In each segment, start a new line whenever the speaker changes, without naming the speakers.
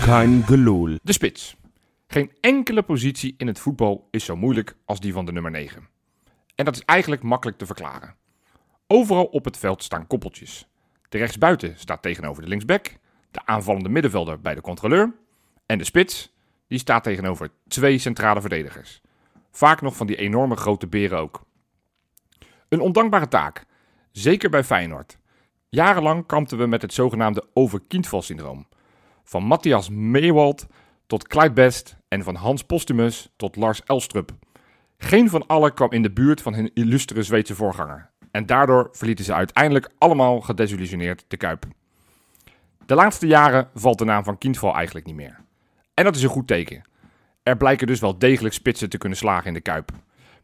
Kein geloel.
De spits. Geen enkele positie in het voetbal is zo moeilijk als die van de nummer 9. En dat is eigenlijk makkelijk te verklaren. Overal op het veld staan koppeltjes. De rechtsbuiten staat tegenover de linksback, de aanvallende middenvelder bij de controleur en de spits, die staat tegenover twee centrale verdedigers. Vaak nog van die enorme grote beren ook. Een ondankbare taak, zeker bij Feyenoord. Jarenlang kampten we met het zogenaamde overkindval-syndroom. Van Matthias Meewald tot Clyde Best en van Hans Postumus tot Lars Elstrup. Geen van allen kwam in de buurt van hun illustere Zweedse voorganger. En daardoor verlieten ze uiteindelijk allemaal gedesillusioneerd de Kuip. De laatste jaren valt de naam van Kindval eigenlijk niet meer. En dat is een goed teken. Er blijken dus wel degelijk spitsen te kunnen slagen in de Kuip.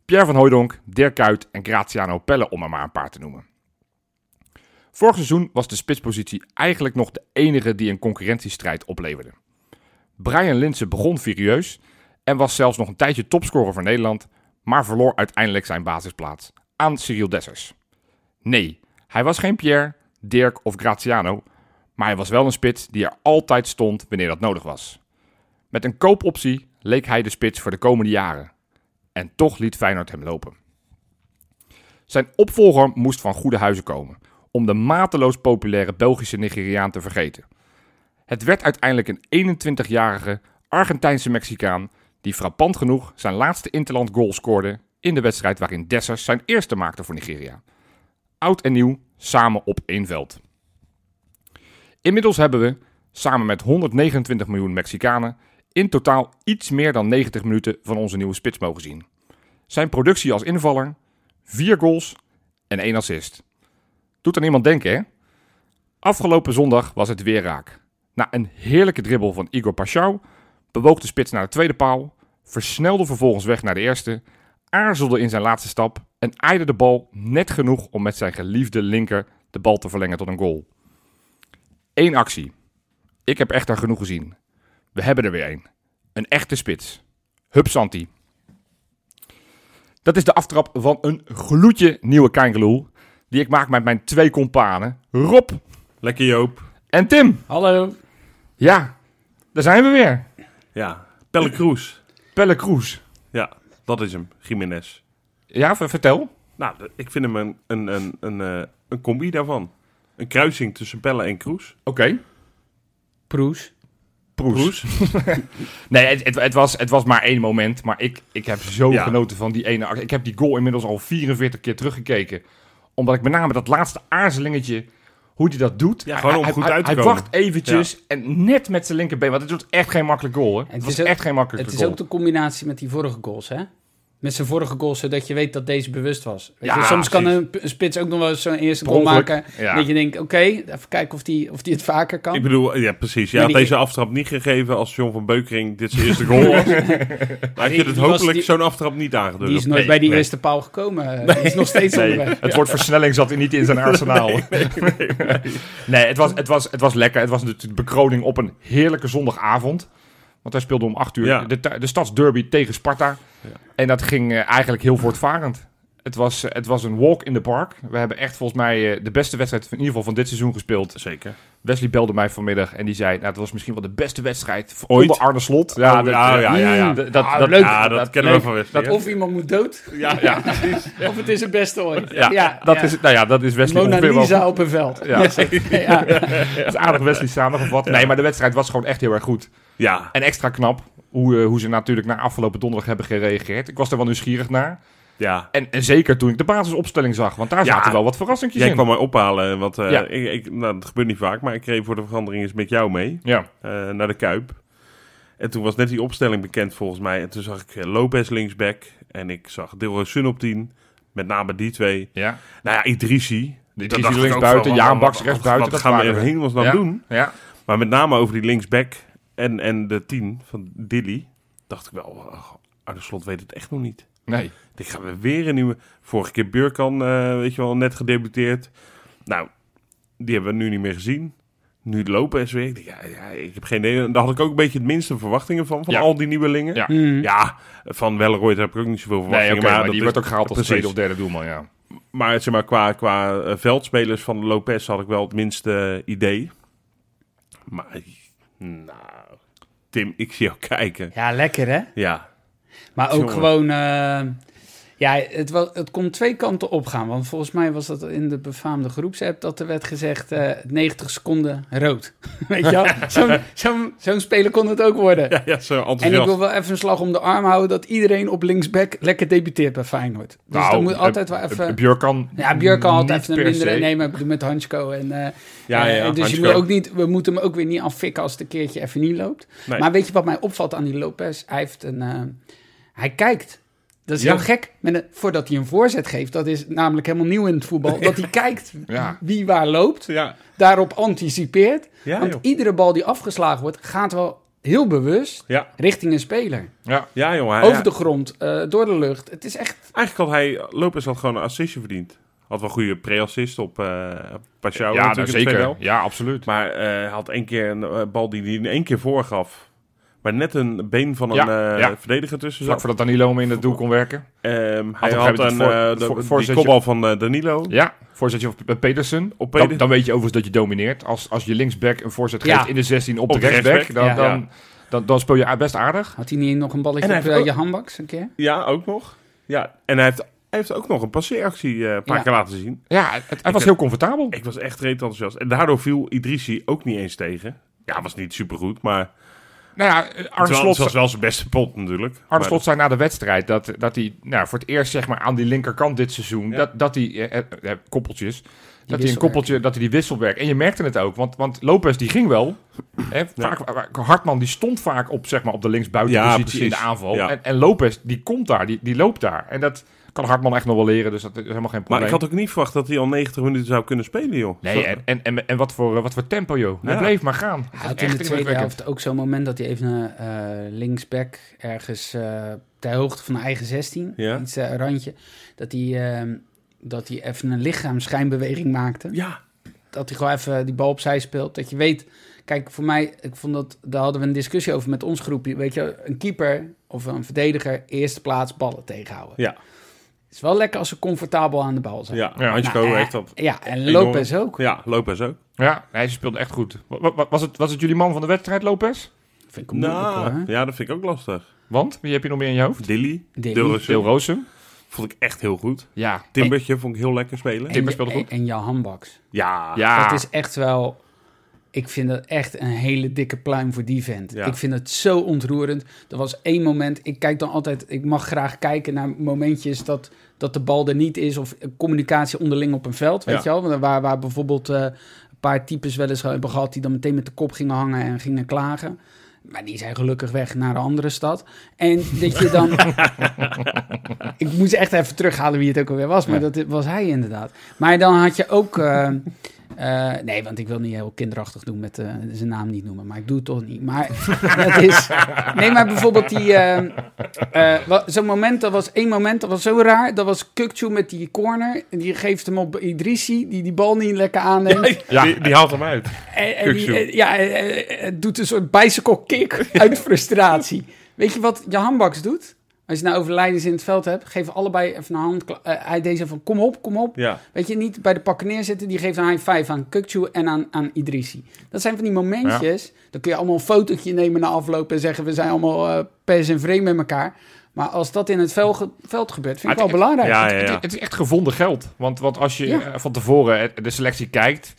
Pierre van Hooijdonk, Dirk Kuyt en Graziano Pelle om er maar een paar te noemen. Vorig seizoen was de spitspositie eigenlijk nog de enige die een concurrentiestrijd opleverde. Brian Linsen begon furieus en was zelfs nog een tijdje topscorer voor Nederland, maar verloor uiteindelijk zijn basisplaats aan Cyril Dessers. Nee, hij was geen Pierre, Dirk of Graziano, maar hij was wel een spits die er altijd stond wanneer dat nodig was. Met een koopoptie leek hij de spits voor de komende jaren. En toch liet Feyenoord hem lopen. Zijn opvolger moest van goede huizen komen, om de mateloos populaire Belgische Nigeriaan te vergeten. Het werd uiteindelijk een 21-jarige Argentijnse Mexicaan die frappant genoeg zijn laatste interland goal scoorde in de wedstrijd waarin Dessers zijn eerste maakte voor Nigeria. Oud en nieuw, samen op één veld. Inmiddels hebben we, samen met 129 miljoen Mexicanen, in totaal iets meer dan 90 minuten van onze nieuwe spits mogen zien. Zijn productie als invaller, vier goals en één assist. Doet aan iemand denken, hè? Afgelopen zondag was het weer raak. Na een heerlijke dribbel van Igor Paschal bewoog de spits naar de tweede paal, versnelde vervolgens weg naar de eerste, aarzelde in zijn laatste stap en aaide de bal net genoeg om met zijn geliefde linker de bal te verlengen tot een goal. Eén actie. Ik heb echt er genoeg gezien. We hebben er weer één. Een echte spits. Hup Santi. Dat is de aftrap van een gloedje nieuwe Keingeloel. Die ik maak met mijn twee companen. Rob
Lekker Joop.
en Tim.
Hallo.
Ja, daar zijn we weer.
Ja, Pelle Cruz.
Pelle Kroes.
Ja, dat is hem, Jiménez.
Ja, ver- vertel.
Nou, de- ik vind hem een, een, een, een, eh, een combi daarvan. Een kruising tussen Pelle en Cruz.
Oké.
Proes.
Proes. Nee, het, het, het was, het was maar één moment. Maar ik, ik heb zo
Ja.
genoten van die ene actie. Ik heb die goal inmiddels al 44 keer teruggekeken. Omdat ik met name dat laatste aarzelingetje, hoe hij dat doet.
Ja, gewoon om
Hij-
goed
hij-
uit te
Hij
komen.
wacht eventjes en net met zijn linkerbeen. Want het was echt geen makkelijk goal, hè? Het, was
ook-
echt geen makkelijk
Het
goal.
is ook de combinatie met die vorige goals, hè? Met zijn vorige goals, zodat je weet dat deze bewust was. Weet
Ja,
je, soms kan
precies.
een, p- een spits ook nog wel eens zo'n eerste
Per
goal
ongeluk,
maken.
ja.
Dat je denkt, oké, even kijken of die, of die het vaker kan.
Ik bedoel, ja precies. Je
Maar
had
die-
deze aftrap niet gegeven als John van Beukering dit zijn eerste goal was. Dan had je
die-
het
die was-
hopelijk
die-
zo'n aftrap niet aangedurfd.
die is nooit
nee,
bij die
nee.
eerste paal gekomen. eh, Die is nog steeds
Nee,
onderweg.
het woord versnelling zat er niet in zijn arsenaal. Nee, het, was, het, was, het was lekker. Het was natuurlijk de bekroning op een heerlijke zondagavond. Want hij speelde om 8 uur
Ja.
de, tu- de stadsderby tegen Sparta. En dat ging eh, eigenlijk heel voortvarend. Het was, eh, het was een walk in the park. We hebben echt volgens mij eh, de beste wedstrijd van, in ieder geval van dit seizoen gespeeld.
Zeker.
Wesley belde mij vanmiddag en die zei... Nou, het was misschien wel de beste wedstrijd
Ooit.
onder Arne Slot. Ja,
Oh, ja, ja, ja, ja.
Dat, dat,
Ah,
dat-
leuk.
Ja, dat,
dat-
kennen we
leuk.
van Wesley.
Dat
hè?
of iemand moet dood,
Ja, ja.
of het is het beste ooit.
ja, dat,
ja.
Is, nou ja, dat is Wesley
Mona
ongeveer wel-
Lisa op een veld.
Ja.
Ja.
Dat is aardig Wesley samengevat. Nee, maar de wedstrijd was gewoon echt heel erg goed.
ja.
En extra knap hoe, eh, hoe ze natuurlijk na afgelopen donderdag hebben gereageerd. Ik was er wel nieuwsgierig naar.
ja.
En, en zeker toen ik de basisopstelling zag, want daar
Ja.
zaten wel wat verrassingjes
Jij
in.
kwam mij ophalen, want eh,
Ja.
ik, ik, nou, dat gebeurt niet vaak, maar ik reed voor de verandering eens met jou mee.
Ja,
eh, naar de Kuip. En toen was net die opstelling bekend volgens mij. En toen zag ik eh, Lopez linksback en ik zag Dilrosun op 10. Met name die twee.
ja.
Nou ja, Idrisi.
Die
Dat dacht
links
ik ook
linksbuiten,
van,
Jaan
wat-
Baks
wat-
rechtsbuiten.
Wat
dat
gaan we in
waren
hemelsnaam
Ja.
doen?
Ja,
Maar met name over die linksback en, en de 10 van Dilly. Dacht ik wel, oh, ach, Arne Slot weet het echt nog niet.
nee.
Ik ga weer een nieuwe. Vorige keer Burkan, eh, weet je wel, net gedebuteerd. Nou, die hebben we nu niet meer gezien. Nu lopen is weer. Ik denk, Ja, ja, ik heb geen idee. Daar had ik ook een beetje het minste verwachtingen van. Van
Ja.
al die nieuwelingen.
Ja. Mhm.
Hmm.
Ja, van Welleroy heb ik ook niet zoveel verwachtingen.
Nee, oké, maar,
dat
die
is-
wordt ook gehaald als
precies.
tweede of derde doelman, ja.
Dus
Maar, zeg maar qua, qua eh, veldspelers van Lopez had ik wel het minste eh, idee. Maar, nou... Tim, ik zie jou kijken.
Ja, lekker hè?
Ja,
Maar ook
Jongen.
gewoon... eh, ja, het, wa- het kon twee kanten opgaan. Want volgens mij was dat in de befaamde groepsapp... dat er werd gezegd eh, 90 seconden rood. Weet je wel? Zo'n zo'n- zo'n speler kon het ook worden.
ja, ja zo
En ik
enthousiast.
wil wel even een slag om de arm houden... dat iedereen op linksback lekker debuteert bij Feyenoord. Dus
Nou,
dan moet
eh,
altijd wel even...
Eh, Björkan...
Ja, Björk kan altijd
niet
even een
per
mindere
se.
nemen ik bedoel, met Hansko. En, eh,
Ja,
eh,
ja,
dus je
Hansko.
moet ook niet, we moeten hem ook weer niet affikken als het een keertje even niet loopt.
Nee.
Maar weet je wat mij opvalt aan die Lopez? Hij, heeft een, eh, hij kijkt. Dat is
Ja.
heel gek. Met een- voordat hij een voorzet geeft, dat is namelijk helemaal nieuw in het voetbal. Dat hij kijkt
Ja.
wie waar loopt,
Ja,
daarop anticipeert.
Ja,
want
joh.
iedere bal die afgeslagen wordt, gaat wel heel bewust
ja,
richting een speler.
Ja,
ja jongen. hij-
Over
ja.
de grond, eh, door de lucht. Het is echt...
Eigenlijk had hij, Lopez had gewoon een assistje verdiend. Had wel een goede pre-assist op eh Pashao
ja nou,
natuurlijk in het
zeker.
tweede helft.
Ja, absoluut.
Maar eh, hij had één keer een eh, bal die hij in één keer voorgaf. Maar net een been van een
Ja,
eh,
ja.
verdediger tussen
Vlak
zat.
voordat Danilo hem in het doel kon werken.
Ehm,
op
hij
een
had
gegeven
een,
moment
eh,
voor-
de-
voor-
die
voorzetje-
kopbal van eh, Danilo.
Ja, voorzetje op eh, Pedersen.
Op
Dan,
Pedersen.
dan weet je overigens dat je domineert. Als, als je linksback een voorzet geeft
Ja.
in de 16 op,
Op
de
de
rechtsback,
rechtsback,
dan,
ja.
dan, dan, dan speel je a- best aardig.
Had hij niet nog een
En
balletje
hij
op
heeft
eh,
ook-
je handbaks een keer?
Ja, ook nog. Ja, en hij heeft, hij heeft ook nog een passeeractie eh, een paar
Ja.
keer laten zien.
Ja, het- het, hij was heel comfortabel.
Ik was echt reet enthousiast. En daardoor viel Idrissi ook niet eens tegen. Ja, was niet supergoed, maar
Nou ja, eh,
het
Arne
was,
Slot,
het was wel zijn beste pot natuurlijk.
Arne
Maar-
Slot zei na de wedstrijd dat, dat hij nou, voor het eerst zeg maar, aan die linkerkant dit seizoen...
Ja.
Dat, dat hij, eh, eh, eh, koppeltjes, dat hij een
wisselwerking.
koppeltje, dat hij die wisselwerk... En je merkte het ook, want, want Lopez die ging wel. Hè, vaak, eh, Hartman die stond vaak op, zeg maar, op de linksbuitenpositie
Ja,
in de
precies.
aanval.
Ja.
En, en Lopez die komt daar, die, die loopt daar. En dat kan Hartman echt nog wel leren, dus dat is helemaal geen
Maar
probleem.
ik had ook niet verwacht dat hij al 90 minuten zou kunnen spelen, joh. Zo-
Nee, en, en, en, en wat, voor, eh, wat voor tempo, joh. Hij
Ja.
bleef maar gaan.
Hij had in de tweede
indrukwekkend.
helft ook zo'n moment dat hij even eh, eh, linksback ergens eh ter hoogte van de eigen 16,
Ja.
iets eh, randje, dat hij, ehm, dat hij even een lichaamsschijnbeweging maakte.
Ja,
Dat hij gewoon even die bal opzij speelt. Dat je weet, kijk, voor mij, ik vond dat, daar hadden we een discussie over met ons groepje. Weet je, een keeper of een verdediger, eerste plaats ballen tegenhouden.
ja,
Het is wel lekker als ze comfortabel aan de bal zijn.
ja.
Ja.
Hansko
Nou, eh,
heeft dat.
Ja, en
enorm.
Lopez ook.
Ja, Lopez ook.
Ja, hij speelde echt goed. Wa- wa- wa- Was het, was het jullie man van de wedstrijd, Lopez?
Vind ik hem moeilijk hoor.
Nou,
hè?
ja, dat vind ik ook lastig.
Want, wie heb je nog meer in je hoofd?
Dilly,
Dilly.
Deel
Dilrosun,
Roosum.
vond ik echt heel goed.
Ja.
Timbertje vond ik heel lekker spelen.
En-
Timber speelde
en-
goed.
En Johan Baks.
Ja,
Ja.
Dat is echt wel. Ik vind dat echt een hele dikke pluim voor die vent.
Ja.
Ik vind het zo ontroerend. Er was één moment. Ik kijk dan altijd. Ik mag graag kijken naar momentjes dat, dat de bal er niet is. Of communicatie onderling op een veld. Weet
Ja.
je wel? Want Waar, waar bijvoorbeeld eh, een paar types wel eens hebben gehad. die dan meteen met de kop gingen hangen en gingen klagen. Maar die zijn gelukkig weg naar een andere stad. En dat je dan. ik moest echt even terughalen wie het ook alweer was. Maar dat was hij inderdaad. Maar dan had je ook. eh, eh, nee, want ik wil niet heel kinderachtig doen met eh, zijn naam niet noemen. Maar ik doe het toch niet. Maar dat is. Nee, maar bijvoorbeeld die. eh, eh, wa- Zo'n moment, dat was één moment, dat was zo raar. Dat was Kukcu met die corner. En die geeft hem op Idrissi, die die bal niet lekker aanneemt.
Ja.
Die, die haalt hem uit.
En, en
Kukzu.
die, eh, ja, eh, eh, eh, doet een soort bicycle kick uit frustratie. Weet je wat Johan Baks doet? Als je nou overlijdens in het veld hebt, geef allebei even een hand. eh, hij deze van kom op, kom op.
Ja,
Weet je, niet bij de pakken neerzitten. Die geeft een high five aan Kukcu en aan, aan Idrissi. Dat zijn van die momentjes. Dan kun je allemaal een fotootje nemen na afloop en zeggen... we zijn allemaal eh, pers en vreemd met elkaar. Maar als dat in het veld, ge- veld gebeurt, vind ik
Maar
wel belangrijk.
ja, Ah, ja.
Het,
ja.
het is echt gevonden geld. Want, want als je
Ja.
eh, van tevoren het- de selectie kijkt,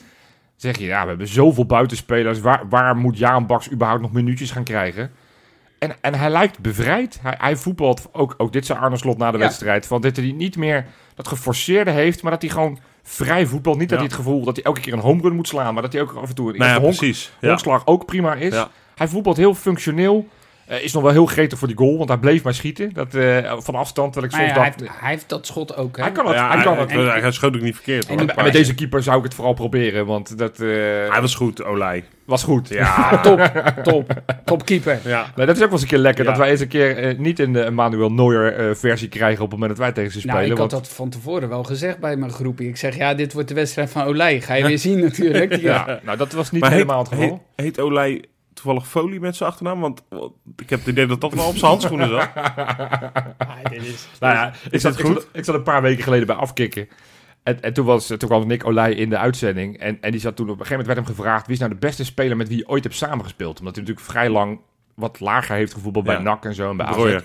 zeg je, ja, we hebben zoveel buitenspelers. Waar, waar moet Jaan Baks überhaupt nog minuutjes gaan krijgen? En, en hij lijkt bevrijd. Hij, hij voetbalt ook, ook dit zijn Arne Slot na de
Ja.
wedstrijd. Van dat hij niet meer dat geforceerde heeft, maar dat hij gewoon vrij voetbalt. Niet dat
Ja.
hij het gevoel dat hij elke keer een home run moet slaan, maar dat hij ook af en toe een
Nou ja,
eerste honk-
precies. Ja.
Honkslag ook prima is.
Ja.
Hij voetbalt heel functioneel. Eh, is nog wel heel gretig voor die goal, want hij bleef maar schieten. Dat, eh, van afstand, terwijl ik
Maar
soms
ja, hij,
dacht...
heeft, hij heeft dat schot ook. Hè?
Hij kan het,
Ja,
hij kan
hij,
het.
hij- hij schoot ook niet verkeerd.
en
hoor.
die-
En eh, met deze keeper zou ik het vooral proberen, want dat eh,
Hij was goed, Olij.
was goed.
Ja.
Top, top, topkeeper.
ja.
Nee, dat is ook wel eens een keer lekker,
Ja.
dat wij eens een keer eh, niet een eh, Manuel Neuer eh, versie krijgen op het moment dat wij tegen ze spelen.
Nou, ik had
want-
dat van tevoren wel gezegd bij mijn groepie. Ik zeg, ja, dit wordt de wedstrijd van Olij. Ga je weer zien natuurlijk. Die-
ja, nou, dat was niet
Maar
helemaal het geval.
Heet, heet Olij toevallig Folie met zijn achternaam? Want want ik heb het idee dat dat wel op zijn handschoenen zat.
Ah, dit is...
Nou ja, ik zat,
dit
ik,
goed?
zat, ik zat een paar weken geleden bij Afkikken. En, en toen, was, toen kwam Nick Olij in de uitzending. En, en die zat toen op een gegeven moment werd hem gevraagd: wie is nou de beste speler met wie je ooit hebt samengespeeld? Omdat hij natuurlijk vrij lang wat lager heeft gevoetbald bij
Ja.
NAC en zo. En, bij AZ.
Breuer.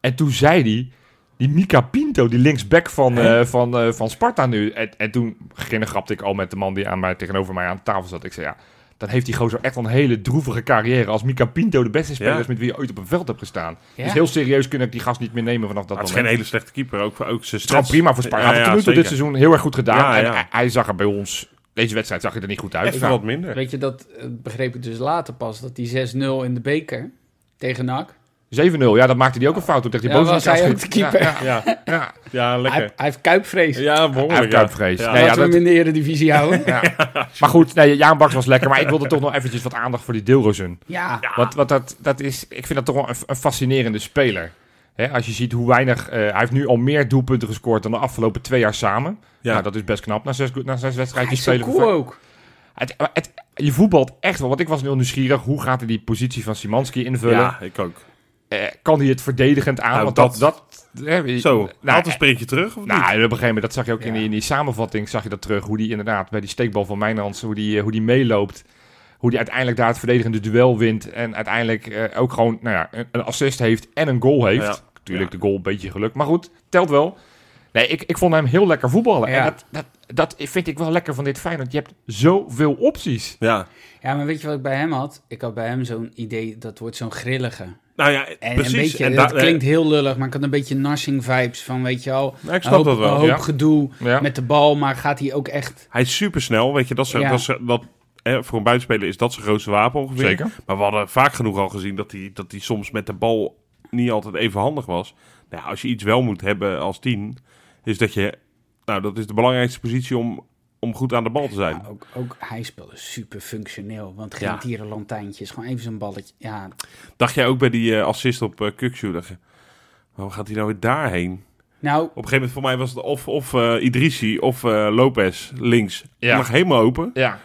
en toen zei hij: die Mika Pinto, die linksback van, eh, van, eh, van Sparta nu. En, en toen grapte ik al met de man die aan mij, tegenover mij aan tafel zat. Ik zei: ja, dan heeft die gozer echt wel een hele droevige carrière. Als Mika Pinto de beste speler
Ja.
is met wie je ooit op een veld hebt gestaan.
Ja.
Dus heel serieus kun ik die gast niet meer nemen vanaf dat
Maar het is
moment.
geen hele slechte keeper. Ook, ook zijn
Het is
stats.
gewoon prima voor Spanje.
Ja,
Hij had
ja,
tot nu toe
zeker.
dit seizoen heel erg goed gedaan.
Ja,
en
ja.
hij, hij zag er bij ons, deze wedstrijd zag hij er niet goed uit. Nou,
Echt wel wat minder.
Weet je, dat eh, begreep ik dus later pas. Dat die 6-0 in de beker tegen NAC.
7-0, ja, dat maakte hij ook een fout. Toen tegen die
Ja,
boven
was hij ook de keeper.
Ja, ja,
Ja,
ja.
ja,
Hij,
lekker.
hij heeft kuipvrees.
Ja,
Hij heeft
behoorlijk. ja.
kuipvrees.
Ja.
Nee, ja,
Laten we
dat-
hem in de eredivisie houden.
Maar goed, nee, Jaan Baks was lekker. Maar ik wilde toch nog eventjes wat aandacht voor die Deelrozen.
Ja,
Want, want dat, dat is, ik vind dat toch wel een, een fascinerende speler. Hè, als je ziet hoe weinig... eh, hij heeft nu al meer doelpunten gescoord dan de afgelopen twee jaar samen.
Ja.
Nou, dat is best knap na zes, na zes
hij
wedstrijdjes
is zo
spelen.
cool ook.
Het, het- je voetbalt echt wel. Want ik was heel nieuwsgierig. Hoe gaat hij die positie van Simanski invullen?
Ja, ik ook.
Eh, kan hij het verdedigend aan?
Nou,
want dat...
dat-
dat, hè,
Zo,
Nou,
had een sprintje terug of
nou, op
niet?
een gegeven moment, dat zag je ook in,
Ja.
die, in die samenvatting, zag je dat terug. Hoe die inderdaad bij die steekbal van Mijnlands, hoe die, eh, hoe die meeloopt. Hoe die uiteindelijk daar het verdedigende duel wint. En uiteindelijk eh, ook gewoon nou ja, een- een assist heeft en een goal heeft.
Ja.
Natuurlijk
Ja.
de goal een beetje geluk. Maar goed, telt wel. Nee, ik, ik vond hem heel lekker voetballen. En
Ja.
dat, dat, dat vind ik wel lekker van dit Feyenoord. Je hebt zoveel opties.
Ja.
Ja, maar weet je wat ik bij hem had? Ik had bij hem zo'n idee, dat wordt zo'n grillige.
Nou ja,
En
precies.
een beetje,
en
dat
da- eh,
klinkt heel lullig, maar ik had een beetje narsing vibes van, weet je al...
Nou, ik
een
snap
hoop-
dat wel,
Een hoop
ja.
gedoe
Ja.
met de bal, maar gaat hij ook echt...
Hij is supersnel, weet je. Dat, is,
Ja.
dat, is, dat hè, voor een buitenspeler is dat zijn grootste wapen ongeveer.
Zeker.
Maar we hadden vaak genoeg al gezien dat hij, dat hij soms met de bal niet altijd even handig was. Nou, ja, als je iets wel moet hebben als tien, is dat je... Nou, dat is de belangrijkste positie om, om goed aan de bal te zijn.
Ja, ook, ook hij speelde super functioneel, want geen
Ja.
tierenlantijntjes, gewoon even zo'n balletje. Ja,
Dacht jij ook bij die eh, assist op eh Kukçu, dacht je, waarom gaat hij nou weer daarheen?
nou,
Op een gegeven moment voor mij was het of, of eh, Idrissi of eh, Lopez links.
Ja.
Ja. Lag helemaal open.
Ja,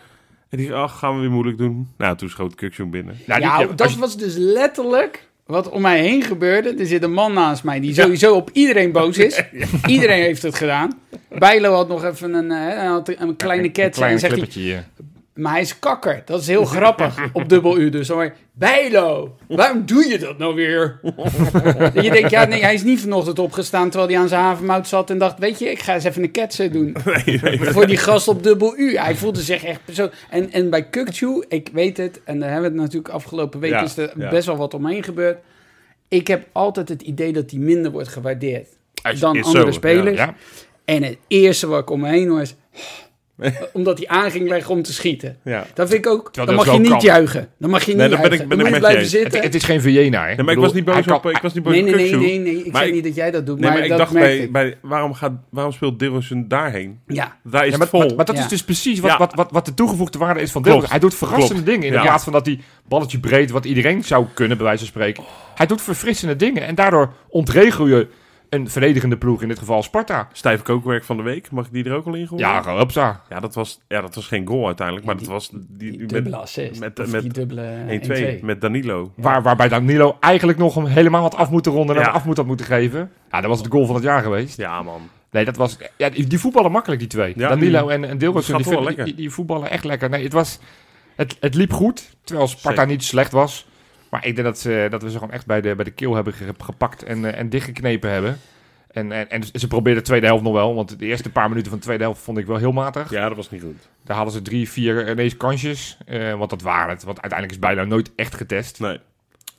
En die ach, gaan we weer moeilijk doen. Nou, toen schoot Kukçu hem binnen.
nou,
ja,
die- als
dat
je-
was dus letterlijk wat om mij heen gebeurde. Er zit een man naast mij die sowieso op iedereen boos is. Iedereen heeft het gedaan. Bijlo had nog even een, eh, hij had een kleine
een
ket.
klein
en zegt hij,
clippertje hier.
maar hij is kakker. Dat is heel grappig op dubbel U. Dus hoor, Bijlo, waarom doe je dat nou weer? dat je denkt, ja, nee, hij is niet vanochtend opgestaan terwijl hij aan zijn havenmout zat en dacht, weet je, ik ga eens even een ketsen doen.
Nee, nee.
voor die gast op dubbel U. Hij voelde zich echt persoon. En, en bij Kukchu, ik weet het, en daar hebben we het natuurlijk afgelopen week
Ja,
is er
ja.
best wel wat omheen gebeurd. Ik heb altijd het idee dat hij minder wordt gewaardeerd
Is-
dan
is
andere
zo,
spelers.
Ja,
En het eerste wat ik om me heen hoor is, omdat hij aan ging leggen om te schieten.
Ja.
Dat vind ik ook,
Terwijl
dan
dat
mag je niet
wel kan.
juichen. Dan mag je niet
Nee, dat ben ik-
juichen.
ben
dan
ik
moet je
met je
blijven
eens.
het, eh,
zitten.
het is geen Vienna, hè?
Nee, maar ik
bedoel,
was niet
hij
boos
kan-
op, ik was niet boos
nee, nee,
op
nee,
Kukçu.
nee, nee, ik
Maar
zeg
ik-
niet dat jij dat doet,
Nee, maar,
maar,
ik
dat
dacht
merkte
bij,
ik.
bij waarom, gaat, waarom speelt Dilrosun daarheen?
Ja,
Daar is
Ja, maar,
het vol.
maar- maar dat
Ja.
is dus precies wat,
Ja.
wat, wat, wat de toegevoegde waarde is van
Klopt.
Dilbert. Hij doet verrassende
Klopt.
dingen. In
Ja.
plaats van dat hij balletje breed, wat iedereen zou kunnen, bij wijze van spreken. Hij doet verfrissende dingen. En daardoor ontregel je een verdedigende ploeg, in dit geval Sparta.
Stijf kookwerk van de week, mag ik die er ook al in gooien?
Ja, gewoon hupsa.
Ja, dat was, ja, dat was geen goal uiteindelijk, maar
Die-
dat was die,
die
die
dubbele
met
assist.
met-
Of
met
die dubbele
1-2
1-2.
met Danilo.
Waar, waarbij Danilo eigenlijk nog hem helemaal had af moeten ronden en
Ja.
hem af moet had moeten geven. Ja, dat was de goal van het jaar geweest.
Ja, man.
Nee, dat was... Ja, die die voetballen makkelijk, die twee.
Ja.
Danilo en, en
Dat
Dilbertsen,
gaat
die,
wel
vind-
lekker.
die, die voetballen echt lekker. Nee, het, was, het, het liep goed, terwijl Sparta
Zeker.
niet slecht was. Maar ik denk dat, ze, dat we ze gewoon echt bij de, bij de keel hebben ge- gepakt en, eh, en dichtgeknepen hebben. En, en, en ze probeerden de tweede helft nog wel, want de eerste paar minuten van de tweede helft vond ik wel heel matig.
Ja, dat was niet goed.
Daar hadden ze drie, vier ineens kansjes, eh, want dat waren het. Want uiteindelijk is bijna nooit echt getest.
Nee.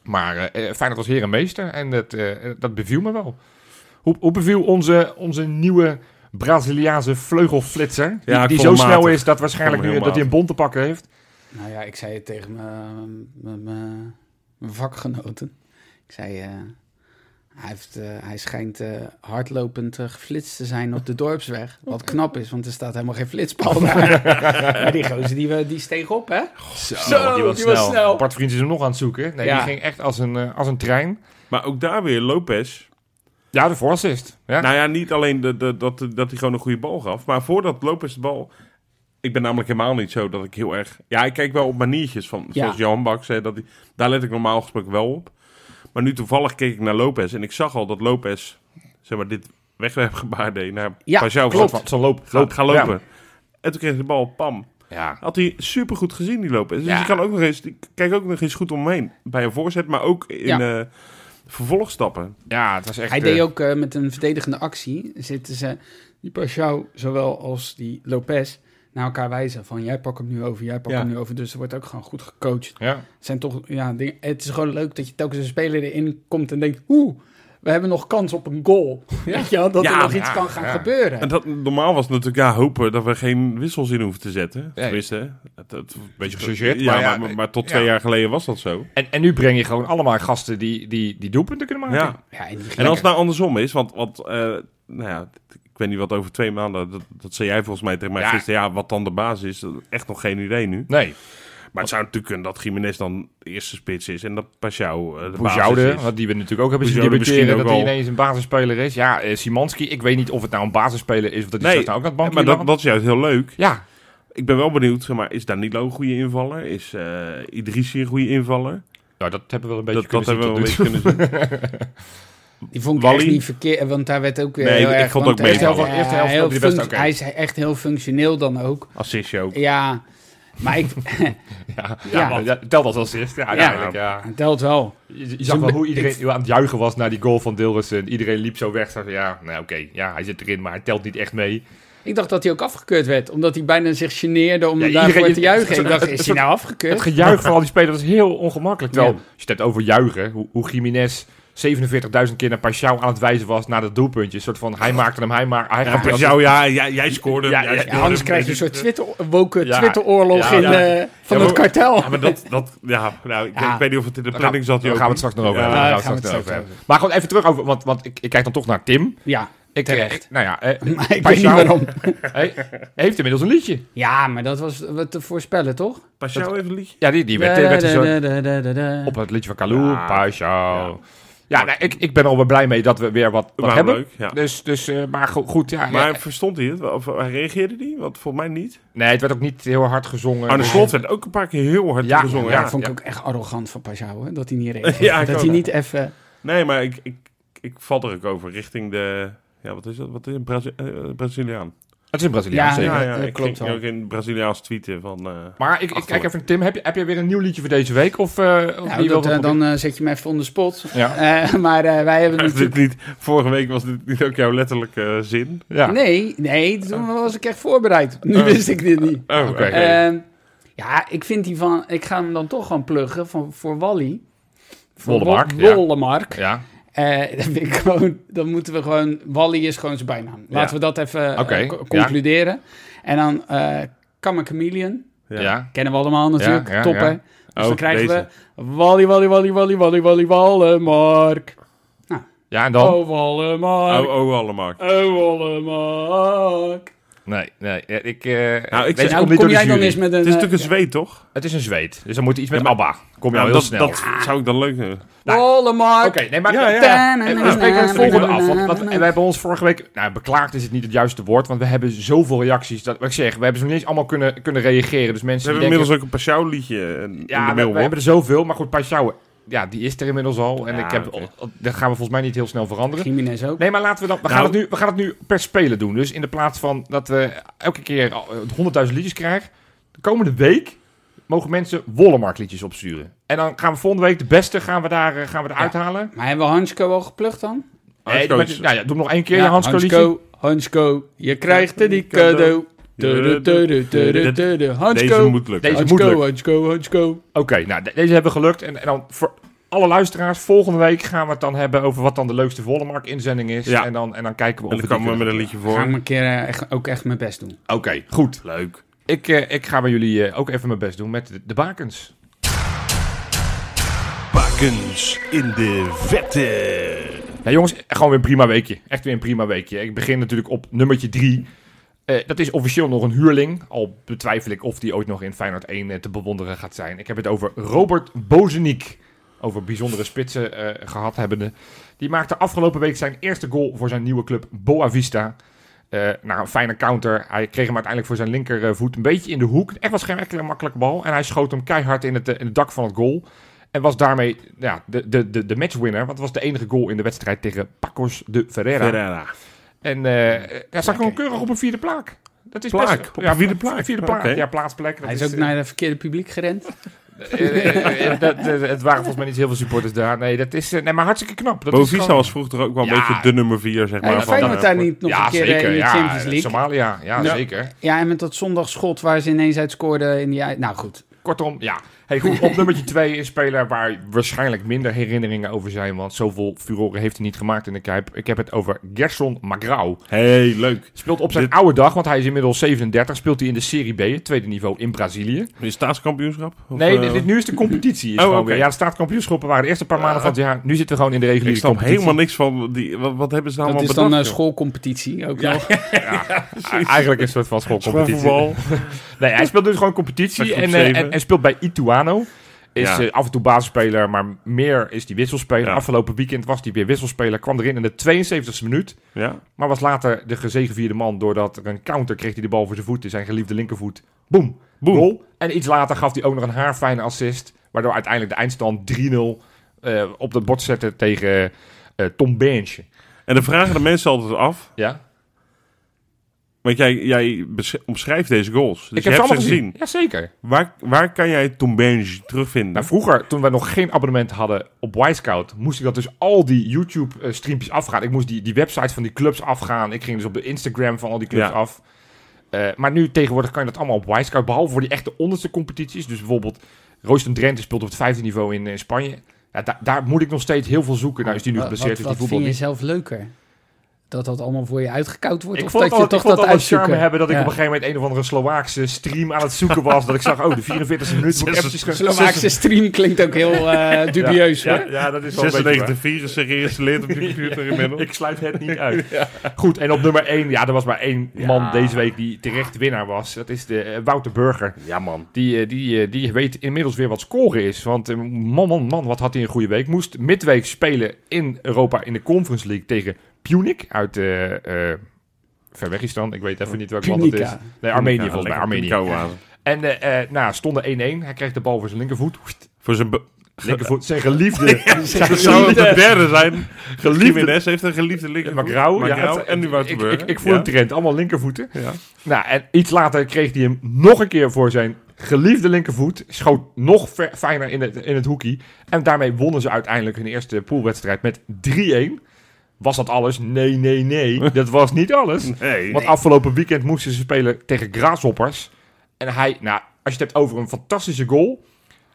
Maar eh, eh, Feyenoord was heer en meester en dat, eh, eh, dat beviel me wel. Hoe, hoe beviel onze, onze nieuwe Braziliaanse vleugelflitser? Die,
Ja, ik
die
vond
zo
hem
snel
matig.
is dat waarschijnlijk
Ik vond
nu
hem
dat
heel
hij een bond te pakken heeft.
Nou ja, ik zei het tegen mijn- mijn mijn- mijn vakgenoten. Ik zei, eh, hij, heeft, eh, hij schijnt eh, hardlopend eh, geflitst te zijn op de dorpsweg. Wat knap is, want er staat helemaal geen flitspaal daar. maar die gozer, die, we- die steeg op, hè?
Zo,
die was snel.
Bart Vriends is hem nog aan het zoeken. Nee,
Ja.
die ging echt als een, eh, als een trein.
Maar ook daar weer, Lopez.
Ja, de voorassist. Ja.
Nou ja, niet alleen de, de, dat, dat hij gewoon een goede bal gaf. Maar voordat Lopez de bal... Ik ben namelijk helemaal niet zo dat ik heel erg... Ja, ik kijk wel op maniertjes van...
Ja.
Zoals Johan Bak zei, dat hij, daar let ik normaal gesproken wel op. Maar nu toevallig keek ik naar Lopez. En ik zag al dat Lopez, zeg maar, dit wegwerpgebaar deed naar
Ja,
Pajou.
klopt.
Gaat,
Wat zo'n loop.
gaat gaan lopen.
Ja.
En toen kreeg hij de bal, pam.
Ja.
Had hij supergoed gezien, die Lopez. Dus
Ja.
die, kan ook nog eens, die kijkt ook nog eens goed omheen. Bij een voorzet, maar ook in
Ja.
eh, vervolgstappen.
Ja, het was echt...
Hij
eh,
deed ook eh, met een verdedigende actie. Zitten ze, die Pashao, zowel als die Lopez, naar elkaar wijzen. Van jij pak hem nu over, jij pak
Ja.
hem nu over. Dus er wordt ook gewoon goed gecoacht.
Ja.
Het, zijn toch, ja, dingen- het is gewoon leuk dat je telkens een speler erin komt en denkt... Oeh, we hebben nog kans op een goal. Weet je wel, dat
Ja,
er nog
ja,
iets kan gaan
ja.
En
gebeuren.
dat, normaal was het natuurlijk ja, hopen dat we geen wissels in hoeven te zetten.
Nee.
Tenminste, hè. het, het, een beetje
gechargeerd,
Ja,
maar
maar,
ja,
maar, maar tot
ja.
twee jaar geleden was dat zo.
En, en nu breng je gewoon allemaal gasten die, die, die doelpunten kunnen maken.
Ja.
Ja, en die
En als het nou andersom is, want, want eh, nou ja, ik weet niet wat over twee maanden, dat, dat zei jij volgens mij tegen mij
Ja.
gisteren, ja, wat dan de basis is, dat- echt nog geen idee nu.
Nee,
Maar het zou natuurlijk kunnen dat Jiménez dan de eerste spits is en dat Pashao eh, de
Boujoude,
basis is.
wat die we natuurlijk ook hebben zien
Boujoude
debuteren,
misschien
dat
ook
hij
wel.
ineens een basisspeler is. Ja, eh, Simanski, ik weet niet of het nou een basisspeler is of dat hij
Nee,
straks nou ook naar het bankje
Maar dat,
mag.
dat is juist heel leuk.
Ja,
Ik ben wel benieuwd, zeg maar, is Danilo een goede invaller? Is eh Idrissi een goede invaller?
nou, dat hebben we wel een beetje
dat dat
kunnen
hebben we wel een
zien tot
beetje kunnen zien.
Die vond ik
Wally?
echt niet verkeerd, want daar werd ook weer
Nee,
heel
ik- ik
erg...
vond
want
ook
hij is
meevallen.
wel-
Eerste helft
ja,
vond hij
heel
best
funct-
oké.
Hij is echt heel functioneel dan ook.
Assistje ook.
Ja, maar ik...
nu.
Ja.
Ja, ja, tel dat als eerst. Ja, uiteindelijk, ja.
het telt wel.
Je, je zag wel hoe iedereen aan het juichen was naar die goal van Dilrussen. Iedereen liep zo weg. Zei, van, ja, nou oké, ja, hij zit erin, maar hij telt niet echt mee.
Ik dacht dat hij ook afgekeurd werd, omdat hij bijna zich geneerde om
Ja,
daarvoor
iedereen-
te juichen. Ik dacht,
het-
is
het-
hij nou
Het
afgekeurd?
gejuich van al die spelers was heel ongemakkelijk. Terwijl,
Ja.
als je het hebt over juichen, hoe, hoe Jiménez 47.000 keer naar Pashao aan het wijzen was naar dat doelpuntje. Een soort van, hij maakte hem, hij maakte hij
Ja,
gaf-
Pashao, ja, jij, jij scoorde.
Ja,
jij
ja,
Ja,
scoorde.
anders krijg je een soort Twitter, woke
Ja.
Twitteroorlog
Ja,
in,
ja.
eh, van
Ja,
het
maar-
kartel.
Ja, maar dat, dat, ja, nou, ik,
Ja.
ik weet niet of het in de
Daar gaan,
planning zat.
daar
Joop.
gaan we het straks nog over
Ja,
hebben.
daar
Daar gaan we het straks nog over hebben. Maar gewoon even terug over, want, want ik, ik kijk dan toch naar Tim.
ja,
Ik,
Terecht.
ik- nou ja, eh,
maar ik weet niet
Pashao,
waarom.
hij- hij heeft inmiddels een liedje.
Ja, maar dat was wat te voorspellen, toch?
Pashao even een liedje.
Ja, die, die werd, werd dus zo- op
Op
het liedje van Kalou,
Ja.
Pashao. Ja, nou, ik, ik ben er alweer blij mee dat we weer wat, wat
Wauw,
hebben.
leuk, ja.
Dus, dus eh, maar go- goed, ja.
Maar
ja.
verstond hij het? wel? Of hij reageerde hij? Want volgens mij niet.
Nee, het werd ook niet heel hard gezongen.
Arne Slot werd ook een paar keer heel hard
Ja,
gezongen.
ja.
Ja.
dat vond ik
ja.
ook echt arrogant van Pajou, hè, dat hij niet reageerde.
Ja, ik
dat
ook.
hij niet even...
Nee, maar ik, ik, ik val er ook over richting de... Ja, wat is dat? Wat is een Brazi- eh, Braziliaan?
Het is een Braziliaan,
Ja,
zeker.
ja,
dat
ik
klopt
ging
wel.
ook in Braziliaans tweeten van... eh,
Maar ik, ik kijk
Achterlijk.
even, Tim, heb je, heb je weer een nieuw liedje voor deze week? Of, eh, of wie
Nou,
wil
dat,
dat
eh,
nog
dan eh, zet je me even on the spot.
doen? Ja.
Eh, maar eh, wij hebben
maar
natuurlijk...
dit niet, vorige week was dit niet ook jouw letterlijke eh, zin.
ja.
Nee, nee, toen was ik echt voorbereid. Nu wist ik dit niet.
Oh,
Oké. Eh,
oké.
Ehm, ja, ik vind die van. Ik ga hem dan toch gewoon pluggen van, voor Wally. Voor
Wollemark,
Wol-
ja.
Wollemark.
Ja,
Eh, dat vind ik gewoon, dan moeten we gewoon. Wally is gewoon zijn bijnaam. Laten
Ja.
we dat even eh,
Oké,
co-
ja.
concluderen. En dan eh Kamme Chameleon.
ja.
Kennen we allemaal natuurlijk.
Ja, ja,
Topper.
ja.
Dus
Oh,
dan krijgen
deze.
we. Wally, Wally, Wally, Wally, Wally, Wally, Wallemark.
Ja, en dan?
Oh, Wallemark.
Oh, oh, allemaal.
Oh, Wallemark.
Nee, nee. ja, Ik, eh
Nou, ik zeg-
weet je,
Nou,
komt niet
kom
door de
jij dan
jury.
eens met een.
Het is
eh,
natuurlijk een zweet, toch?
Het is een zweet, dus dan moet iets met
Ja, maar-
ABBA. Kom
Nou,
je al heel
dat,
snel.
dat zou ik dan leuk vinden.
Wallemark.
Nou. Oké, nee, maar
Ja, ja.
En we spreken het volgende af. Want, want we hebben ons vorige week... Nou, beklaagd is het niet het juiste woord, want we hebben zoveel reacties. Dat, wat ik zeg, we hebben ze nog niet eens allemaal kunnen, kunnen reageren. Dus
Ze
mensen
hebben
die denken...
inmiddels ook een Pashao liedje eh, in
Ja,
de
we, we
mailbox.
hebben er zoveel, maar goed, Pashao, ja, die is er inmiddels al. En
Ja,
ik heb,
oké.
dat gaan we volgens mij niet heel snel veranderen.
Jiménez ook.
Nee, maar laten we dan. We, gaan
Nou-
het nu, we gaan het nu per spelen doen. Dus in de plaats van dat we elke keer al, eh, 100.000 liedjes krijgen. De komende week mogen mensen Wollemark liedjes opsturen. En dan gaan we volgende week de beste gaan we daar, eh, gaan we daar
Ja.
uithalen.
Maar hebben we Hansko al geplukt dan?
Hansko
Eh, maar-
is-
ja, ja, doe hem nog één keer, je Hansco liedje.
Hansko, Hansko, je krijgt er die cadeau. Tudu, tudu, tudu, tudu.
Deze
Hansko,
moet lukken.
Deze moet
Hansko,
lukken.
Hansko, Hansko.
Oké, nou, de- deze hebben gelukt. En, en dan voor alle luisteraars, volgende week gaan we het dan hebben over wat dan de leukste Wollemark inzending is.
Ja.
En, dan, en dan kijken we
En
of
dan
die
komen we met
kunnen-
een liedje
Ga ik
voor.
maar een keer eh, echt, ook echt mijn best doen.
Oké, goed.
Leuk.
Ik, eh, ik ga bij jullie eh, ook even mijn best doen met de, de bakens.
Bak,
varkens in de vette.
Ja, Nou, jongens, gewoon weer een prima weekje. Echt weer een prima weekje. Ik begin natuurlijk op nummertje drie. Eh, dat is officieel nog een huurling. Al betwijfel ik of die ooit nog in Feyenoord 1 eh, te bewonderen gaat zijn. Ik heb het over Robert Bozeniek. Over bijzondere spitsen eh, gehad hebbende. Die maakte afgelopen week zijn eerste goal voor zijn nieuwe club Boavista. Eh nou, een fijne counter. Hij kreeg hem uiteindelijk voor zijn linkervoet een beetje in de hoek. Echt was geen enkele makkelijke bal. En hij schoot hem keihard in het, eh, in het dak van het goal. En was daarmee ja, de, de, de, de matchwinner. Want het was de enige goal in de wedstrijd tegen Pacos de Ferreira.
Ferrara.
En eh hij staat gewoon keurig op een vierde plaak. Dat is
Plaak,
best,
op een vierde plaak.
Vierde plaak,
Oké.
ja, plaatsplek. Dat
Hij is
is,
ook
eh,
naar het verkeerde publiek gerend.
eh, eh, eh, dat- eh, Het waren volgens mij niet heel veel supporters daar. Nee, dat is, eh, nee maar hartstikke knap. Dat is
Bovisa
gewoon-
was vroeger ook wel een
Ja.
beetje de nummer 4, zeg maar.
En
van,
Feyenoord
eh,
daar niet nog
ja,
een keer eh,
zeker,
in de
ja,
Champions League.
Somalia, ja,
Ja.
zeker.
Ja, en met dat zondagschot waar ze ineens uit scoorden in die... ei- Nou goed,
Kortom, ja. Hey, goed, op nummertje 2 een speler waar waarschijnlijk minder herinneringen over zijn. Want zoveel furoren heeft hij niet gemaakt in de Kuip. Ik heb het over Gerson Magrau.
Hey, leuk.
Speelt op zijn
Dit-
oude dag, want hij is inmiddels 37. Speelt hij in de Serie B, het tweede niveau in Brazilië.
Is staatskampioenschap? Of,
Nee,
eh,
dit, dit- nu is de competitie. Is
Oh,
gewoon
oké.
weer. Ja, de staatkampioenschappen waren de eerste paar maanden van het jaar. Nu zitten we gewoon in de reguliere
ik snap
competitie.
helemaal niks van. Die, wat, wat hebben ze nou
dat
allemaal
is dan een
eh,
bedacht?
schoolcompetitie ook nog.
E- Eigenlijk een soort van schoolcompetitie.
Schoolvoetbal.
Nee, hij speelt dus gewoon competitie
Met
en,
groep
eh,
zeven.
en, en speelt bij Ituano. Is
Ja.
eh, af en toe basisspeler, maar meer is die wisselspeler.
Ja.
Afgelopen weekend was hij weer wisselspeler. Kwam erin in de 72e minuut.
ja.
Maar was later de gezegevierde man doordat er een counter kreeg hij de bal voor zijn voeten. Zijn geliefde linkervoet. Boom.
Boom.
Goal. En iets later gaf hij ook nog een haarfijne assist. Waardoor uiteindelijk de eindstand 3-0 eh, op het bord zette tegen eh Tom Beentje.
En dan vragen de mensen altijd af.
Ja?
Want jij, jij besch- omschrijft deze goals. Dus je
ze
hebt ze
allemaal
gezien.
Jazeker.
Waar, waar kan jij Tom Benji terugvinden?
Nou, vroeger, toen wij nog geen abonnement hadden op Wisecout, moest ik dat dus al die YouTube-streampjes afgaan. Ik moest die, die websites van die clubs afgaan. Ik ging dus op de Instagram van al die clubs
Ja.
af. Eh, maar nu tegenwoordig kan je dat allemaal op Wisecout, behalve voor die echte onderste competities. Dus bijvoorbeeld Royston Drenthe speelt op het vijfde niveau in, eh, Spanje. Ja, da- daar moet ik nog steeds heel veel zoeken. Nou is die nu
Wat-
geblesseerd,
wat,
dus die
wat
voetbal
vind je
niet.
zelf leuker? Dat dat allemaal voor je uitgekoud wordt?
Ik
of
vond
dat
het
je
altijd,
toch
ik vond
dat
het altijd charme
uitzoeken?
hebben dat ik
Ja.
op een gegeven moment een of andere Slovaakse stream aan het zoeken was. dat ik zag, oh, de 44e minuut moet ik eventjes... gaan-
Slovaakse stream klinkt ook heel eh,
Ja,
dubieus
ja,
hoor.
ja, dat is wel een beetje waar.
96 virussen geïnstalleerd op je computer inmiddels.
Ik sluit het niet uit. Goed, en op nummer 1, ja, er was maar één man deze week die terecht winnaar was. Dat is de eh, Wouter Burger.
Ja, man.
Die, eh, die, eh, die weet inmiddels weer wat scoren is. Want eh, man, man, man, wat had hij een goede week. Moest midweek spelen in Europa in de Conference League tegen Punic uit eh eh ver weg is dan. Ik weet even niet welk land het is.
Punica.
Nee, Armenië volgens mij. Armenië.
Koude water.
En eh, eh, nou, stonden 1-1. Hij kreeg de bal voor zijn linkervoet.
Voor zijn be-
Linkervoet, zijn geliefde. zijn
dat zou het de derde zijn.
geliefde
Jiménez heeft een geliefde linker.
Macrau, ja,
Macrau
het-
en nu Wouter
ik,
Burger.
ik, ik voel
Ja.
een trend. Allemaal linkervoeten.
Ja.
Nou, en iets later kreeg hij hem nog een keer voor zijn geliefde linkervoet. Schoot nog ver- fijner in het, in het hoekie. En daarmee wonnen ze uiteindelijk hun eerste poolwedstrijd met 3-1. Was dat alles? Nee, nee, nee. Dat was niet alles.
Nee.
Want afgelopen weekend moesten ze spelen tegen Graashoppers. En hij, nou, als je het hebt over een fantastische goal.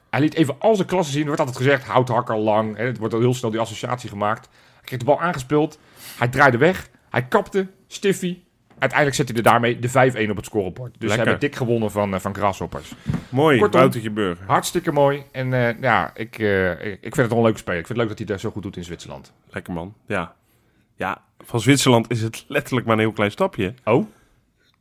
Hij liet even al zijn klassen zien. Er wordt altijd gezegd, houd de hakker lang. Hè, het wordt al heel snel die associatie gemaakt. Hij kreeg de bal aangespeeld. Hij draaide weg. Hij kapte. Stiffy. Uiteindelijk zette hij er daarmee de 5-1 op het scorebord. Dus
Lekker.
ze hebben dik gewonnen van, eh, van Grasshoppers.
Mooi,
Kortom.
Woutertje Burger.
Hartstikke mooi. En eh, ja, ik, eh, ik- ik vind het wel een leuke speler. Ik vind het leuk dat hij daar zo goed doet in Zwitserland.
Lekker man. Ja. ja, van Zwitserland is het letterlijk maar een heel klein stapje.
Oh?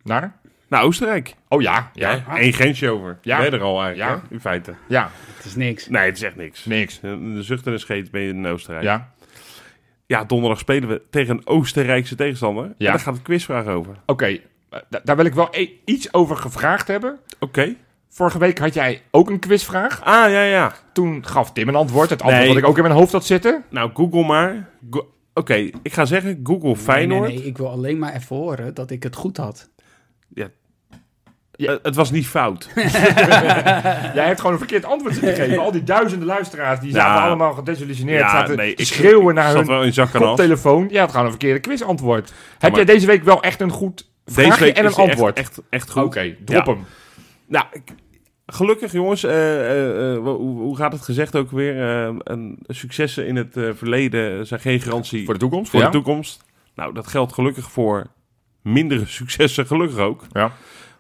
Naar?
Naar Oostenrijk.
Oh ja. Ja. Ja.
Eén grensje over.
Ja.
Ja. Ben je er al eigenlijk,
Ja.
hè? in feite.
Het is niks.
Nee, het is echt niks.
Niks.
De zucht en een scheet ben je in Oostenrijk. Ja.
Ja.
donderdag spelen we tegen een Oostenrijkse tegenstander. Ja.
Ja.
En daar gaat de quizvraag over.
Oké. eh, da- daar wil ik wel e- iets over gevraagd hebben.
Oké.
Vorige week had jij ook een quizvraag.
Ah, ja, ja.
Toen gaf Tim een antwoord. Het antwoord
Nee.
wat ik ook in mijn hoofd had zitten.
Nou, Google maar. Go- Oké, ik ga zeggen Google
Nee, nee,
Feyenoord.
nee, ik wil alleen maar even horen dat ik het goed had.
Ja, Eh, het was niet fout.
Jij hebt gewoon een verkeerd antwoord gegeven. Al die duizenden luisteraars die
Ja.
zaten allemaal gedesillusioneerd.
Ja,
zaten
nee,
te
ik-
schreeuwen naar
zat
hun
wel in zak en as.
koptelefoon. Je had gewoon een verkeerde quizantwoord. heb
maar-
jij deze week wel echt een goed
Deze
vraagje
week
en een
is die echt-
antwoord?
Echt, echt, goed.
Oké, drop
Ja.
hem.
Nou, ik- gelukkig jongens. eh, eh, eh, wa- hoe, hoe gaat het gezegd ook weer? Eh, een, successen in het eh, verleden zijn geen garantie
Voor
voor,
de toekomst?
de toekomst. Nou, dat geldt gelukkig voor mindere successen, gelukkig ook.
Ja.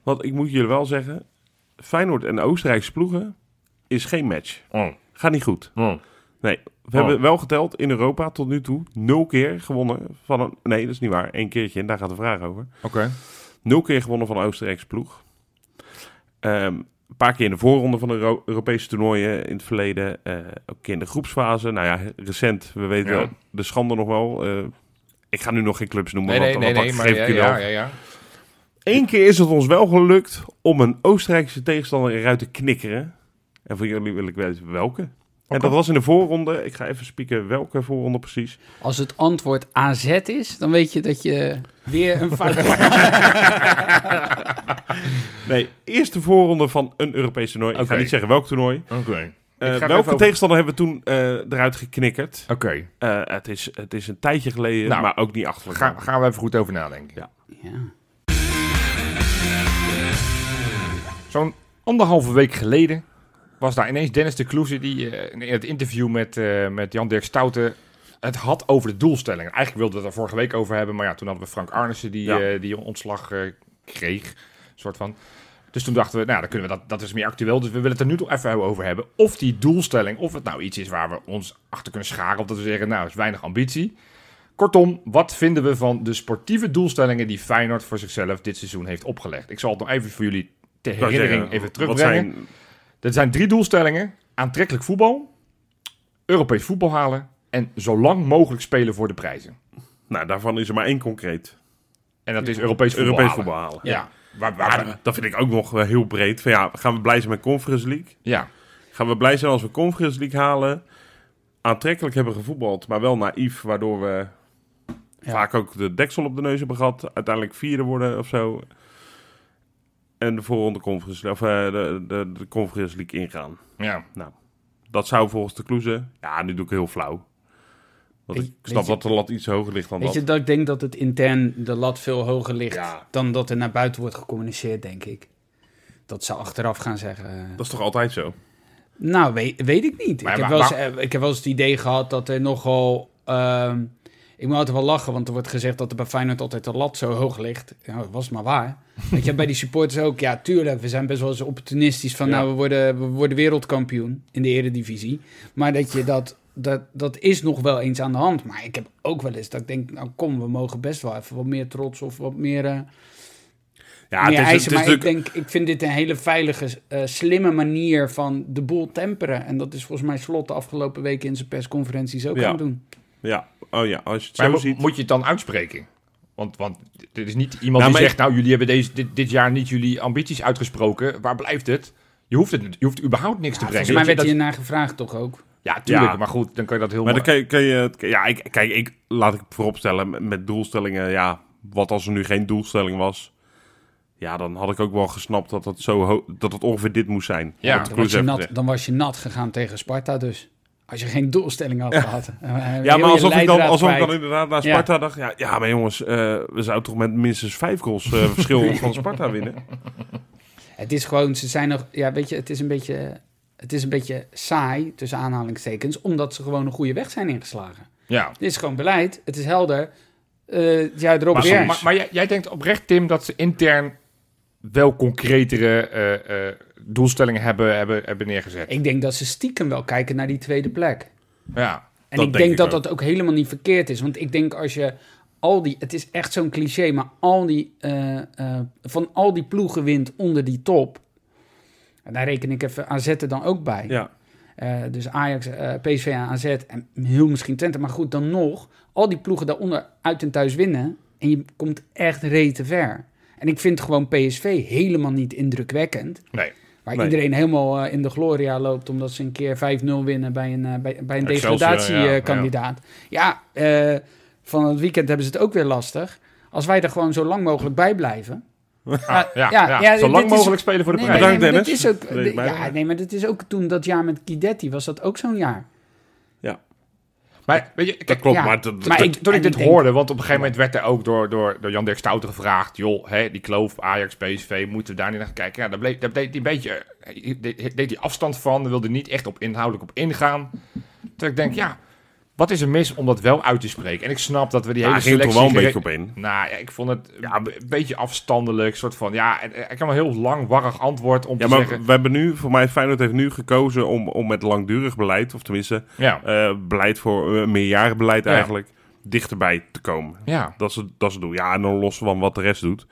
Want ik moet jullie wel zeggen, Feyenoord en Oostenrijkse ploegen is geen match.
Oh,
Gaat niet goed.
oh.
Nee, we
Oh.
hebben wel geteld in Europa tot nu toe nul keer gewonnen van een... Nee, dat is niet waar. Eén keertje en daar gaat de vraag over.
Oké.
Nul keer gewonnen van een Oostenrijkse ploeg. Ehm, een paar keer in de voorronde van de Euro- Europese toernooien in het verleden. eh, ook een keer in de groepsfase. Nou ja, recent, we weten
Ja.
wel, de schande nog wel. eh, ik ga nu nog geen clubs noemen,
Nee, nee,
want
nee,
dan
nee, maar
geef
ja,
ik je
ja,
wel.
ja, ja.
Eén keer is het ons wel gelukt om een Oostenrijkse tegenstander eruit te knikkeren. En voor jullie wil ik weten welke. En dat was in de voorronde. Ik ga even spieken welke voorronde precies.
Als het antwoord AZ is, dan weet je dat je weer een fout maakt.
Nee, eerste voorronde van een Europees toernooi. Ik
Oké.
ga niet zeggen welk toernooi.
Oké.
Eh,
er
welke
even over-
tegenstander hebben we toen eh, eruit geknikkerd?
Oké.
Eh, het, is, het is een tijdje geleden,
Nou,
maar ook niet achterlijk.
Ga, gaan we even goed over nadenken.
Ja.
Zo'n anderhalve week geleden was daar ineens Dennis de Kloeze die eh, in het interview met, eh, met Jan-Dirk Stouten het had over de doelstelling. Eigenlijk wilden we het er vorige week over hebben, maar ja, toen hadden we Frank Arnissen die,
Ja.
eh, die ontslag eh, kreeg, soort van. Dus toen dachten we, nou, dan kunnen we dat, dat is meer actueel, dus we willen het er nu toch even over hebben. Of die doelstelling, of het nou iets is waar we ons achter kunnen scharen, of dat we zeggen, nou, is weinig ambitie. Kortom, wat vinden we van de sportieve doelstellingen die Feyenoord voor zichzelf dit seizoen heeft opgelegd? Ik zal het nog even voor jullie ter
Ik wou
herinnering
zeggen,
even
wat
terugbrengen.
zijn-
Er zijn drie doelstellingen: aantrekkelijk voetbal, Europees voetbal halen en zo lang mogelijk spelen voor de prijzen.
nou, daarvan is er maar één concreet.
En dat is Europees voetbal.
Europees
halen.
voetbal halen.
Ja. Waar, waar,
Maar dat vind ik ook nog eh, heel breed. Van, ja, gaan we blij zijn met Conference League?
ja.
Gaan we blij zijn als we Conference League halen? Aantrekkelijk hebben gevoetbald, maar wel naïef, waardoor we vaak ook de deksel op de neus hebben gehad. Uiteindelijk vierde worden of zo. En de voorronde Conference, of, eh, de, de, de Conference League ingaan.
ja.
Nou, Dat zou volgens de Kloeze... Ja, nu doe ik heel flauw. Want
Weet-
ik snap
weet je-
dat de lat iets hoger ligt dan
Weet
dat.
je, dat ik denk dat het intern de lat veel hoger ligt
Ja.
dan dat er naar buiten wordt gecommuniceerd, denk ik. Dat ze achteraf gaan zeggen. eh,
Dat is toch altijd zo?
Nou, weet, weet ik niet.
Maar-
ik, heb
maar-
wel eens, eh, ik heb wel eens het idee gehad dat er nogal... ehm, ik moet altijd wel lachen, want er wordt gezegd dat er bij Feyenoord altijd de lat zo hoog ligt. Nou, dat was maar waar. Weet je, bij die supporters ook. Ja, tuurlijk, we zijn best wel eens opportunistisch van...
Ja.
nou, we worden, we worden wereldkampioen in de eredivisie. Maar dat je dat... Dat, dat is nog wel eens aan de hand. Maar ik heb ook wel eens dat ik denk... nou kom, we mogen best wel even wat meer trots of wat meer... eh,
Ja,
meer
het is, het is
eisen. maar
natuurlijk...
ik denk, ik vind dit een hele veilige, eh, slimme manier van de boel temperen. En dat is volgens mij Slot de afgelopen weken in zijn persconferenties ook
Ja.
gaan doen.
Ja, oh ja, als je het
Maar
zo
mo-
ziet...
moet je het dan uitspreken? Want, want dit is niet
Nou,
iemand die
maar
zegt, nou, jullie hebben deze, dit, dit jaar niet jullie ambities uitgesproken. Waar blijft het? Je hoeft, het, niet- je hoeft überhaupt niks te brengen.
volgens mij
Weet
werd
je,
hier
dat-
naar gevraagd toch ook?
Ja, tuurlijk,
Ja.
maar goed, dan kan je dat heel
Maar dan
mooi-
kan je, kan je het- ja, ik, kijk, ik, laat ik vooropstellen met- met doelstellingen, ja, wat als er nu geen doelstelling was? Ja, dan had ik ook wel gesnapt dat het, zo ho- dat het ongeveer dit moest zijn.
Ja.
Wat de
Dan
Kloes
was, je
heeft
nat,
gezegd.
dan was je nat gegaan tegen Sparta dus. Als je geen doelstelling had gehad. Eh,
Ja, maar alsof ik dan, alsof ik dan inderdaad naar Sparta dacht, ja, ja maar jongens, eh, we zouden toch met minstens vijf goals eh, verschil van Sparta winnen?
Het is gewoon, ze zijn nog... Ja, weet je, het is een beetje... Het is een beetje saai, tussen aanhalingstekens, omdat ze gewoon een goede weg zijn ingeslagen.
Ja.
Dit is gewoon beleid, het is helder. Eh ja, erop
Maar,
weer.
maar, maar jij, jij denkt oprecht, Tim, dat ze intern wel concretere eh, eh, doelstellingen hebben, hebben, hebben neergezet.
Ik denk dat ze stiekem wel kijken naar die tweede plek.
Ja.
En
Dat denk
ik denk
ik
dat
ook.
dat ook helemaal niet verkeerd is. Want ik denk als je al die... Het is echt zo'n cliché, maar al die, eh, eh, van al die ploegen wint onder die top... En daar reken ik even AZ er dan ook bij.
Ja,
Eh, dus Ajax, eh, PSV en AZ en heel misschien Twente. Maar goed, dan nog. Al die ploegen daaronder uit en thuis winnen. En je komt echt rete ver. En ik vind gewoon PSV helemaal niet indrukwekkend.
Nee.
Waar
Nee.
iedereen helemaal eh, in de gloria loopt omdat ze een keer 5-0 winnen bij een, eh, bij, bij een
Excelsior, ja,
degradatiekandidaat. Ja, eh, van het weekend hebben ze het ook weer lastig. Als wij er gewoon zo lang mogelijk bij blijven.
Ah, ja, ja,
ja, ja,
zo lang
dit is-
mogelijk spelen voor de
Nee, maar,
prijs.
Bedankt,
nee, maar dat
Dennis.
is ook,
Weet ik bijna.
ja, nee, maar dat is ook toen dat jaar met Guidetti, was dat ook zo'n jaar.
Maar weet je,
dat
kijk,
klopt,
ja.
maar, dat,
Maar
dat-
ik-
toen ik
en
dit
ik denk-
hoorde, want op een gegeven moment werd er ook door, door, door Jan Dirk Stouten gevraagd... joh, hè, die kloof Ajax, PSV, moeten we daar niet naar gaan kijken? Ja, daar, bleef, daar deed hij een beetje eh, deed, deed hij afstand van, wilde niet echt op inhoudelijk op ingaan. Terwijl ik denk, ja, Wat is er mis om dat wel uit te spreken? En ik snap dat we die
Ja, hij
hele
ging er
selectie...
toch wel een beetje
gere-
op in.
Nou ja, ik vond het een een beetje afstandelijk. soort van, ja, en- en ik heb een heel lang, warrig antwoord om
Ja,
te
maar
zeggen...
we hebben nu, voor mij, Feyenoord heeft nu gekozen om, om met langdurig beleid, of tenminste
Ja,
eh, beleid voor eh, meerjarenbeleid
Ja.
eigenlijk, dichterbij te komen.
ja,
Dat is, het, dat is het doel. Ja, en dan los van wat de rest doet. Ik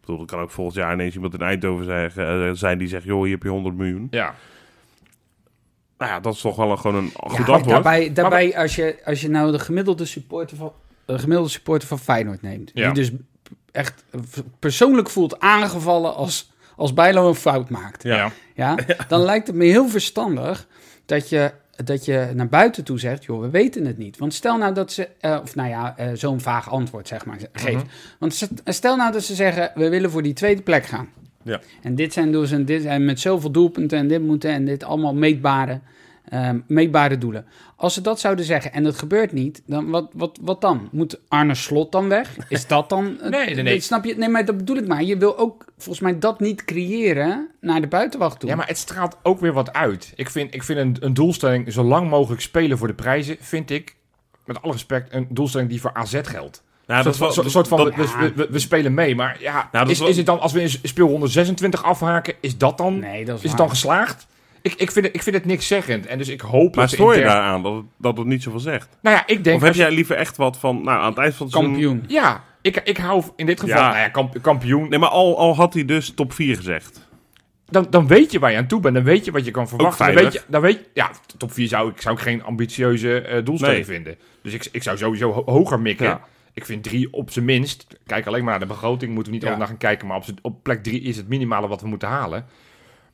bedoel, er kan ook volgend jaar ineens iemand in Eindhoven zeggen, eh, zijn die zegt, joh, hier heb je 100 miljoen.
ja.
Nou ja, dat is toch wel een, gewoon een goed
Ja, maar
antwoord.
daarbij, daarbij als, je, als je nou de gemiddelde supporter van, de gemiddelde supporter van Feyenoord neemt...
Ja.
die dus echt persoonlijk voelt aangevallen als, als Bijlo een fout maakt...
Ja. Ja.
Ja, dan lijkt het me heel verstandig dat je, dat je naar buiten toe zegt: joh, we weten het niet. Want stel nou dat ze, eh, of nou ja, eh, zo'n vaag antwoord zeg maar, geeft.
Mhm.
Want ze- stel nou dat ze zeggen: we willen voor die tweede plek gaan.
Ja.
En dit zijn dus en dit en met zoveel doelpunten en dit moeten en dit allemaal meetbare, ehm, meetbare doelen. Als ze dat zouden zeggen en dat gebeurt niet, dan wat, wat, wat dan? Moet Arne Slot dan weg? Is dat dan? het-
Nee, nee, nee.
Snap je? Nee, maar dat bedoel ik maar. Je wil ook volgens mij dat niet creëren naar de buitenwacht toe.
maar het straalt ook weer wat uit. Ik vind, ik vind een, een doelstelling zo lang mogelijk spelen voor de prijzen... vind ik, met alle respect, een doelstelling die voor AZ geldt.
Nou,
Een
dat
soort,
is wel-
soort van,
dat-
dus-
Nou,
we, we- we- we spelen mee, maar ja,
dat is
is,
wel-
is het dan, als we in speel 126 afhaken, is dat dan,
Nee, dat is
is het
waar.
dan geslaagd? Ik, ik, vind het, ik vind het niks zeggend. En dus ik hoop
Maar
dat ze
stoor je
intern-
daaraan dat het, dat het niet zoveel zegt?
Nou ja, ik denk...
Of heb
als je-
jij liever echt wat van, nou, aan het eind van het seizoen-
kampioen.
Ja, ik, ik hou in dit geval...
Ja.
Nou ja, kamp- kampioen.
Nee, maar al, al had hij dus top 4 gezegd.
Dan, dan weet je waar je aan toe bent. Dan weet je wat je kan verwachten. Dan weet
veilig.
je, dan weet je, ja, top 4 zou ik, zou ik geen ambitieuze eh, doelstelling
Nee.
vinden. Dus ik, ik zou sowieso ho- hoger mikken.
Ja.
Ik vind drie op zijn minst. Kijk alleen maar naar de begroting. Moeten we niet
Ja.
altijd naar gaan kijken. Maar op, z'n- op plek drie is het minimale wat we moeten halen.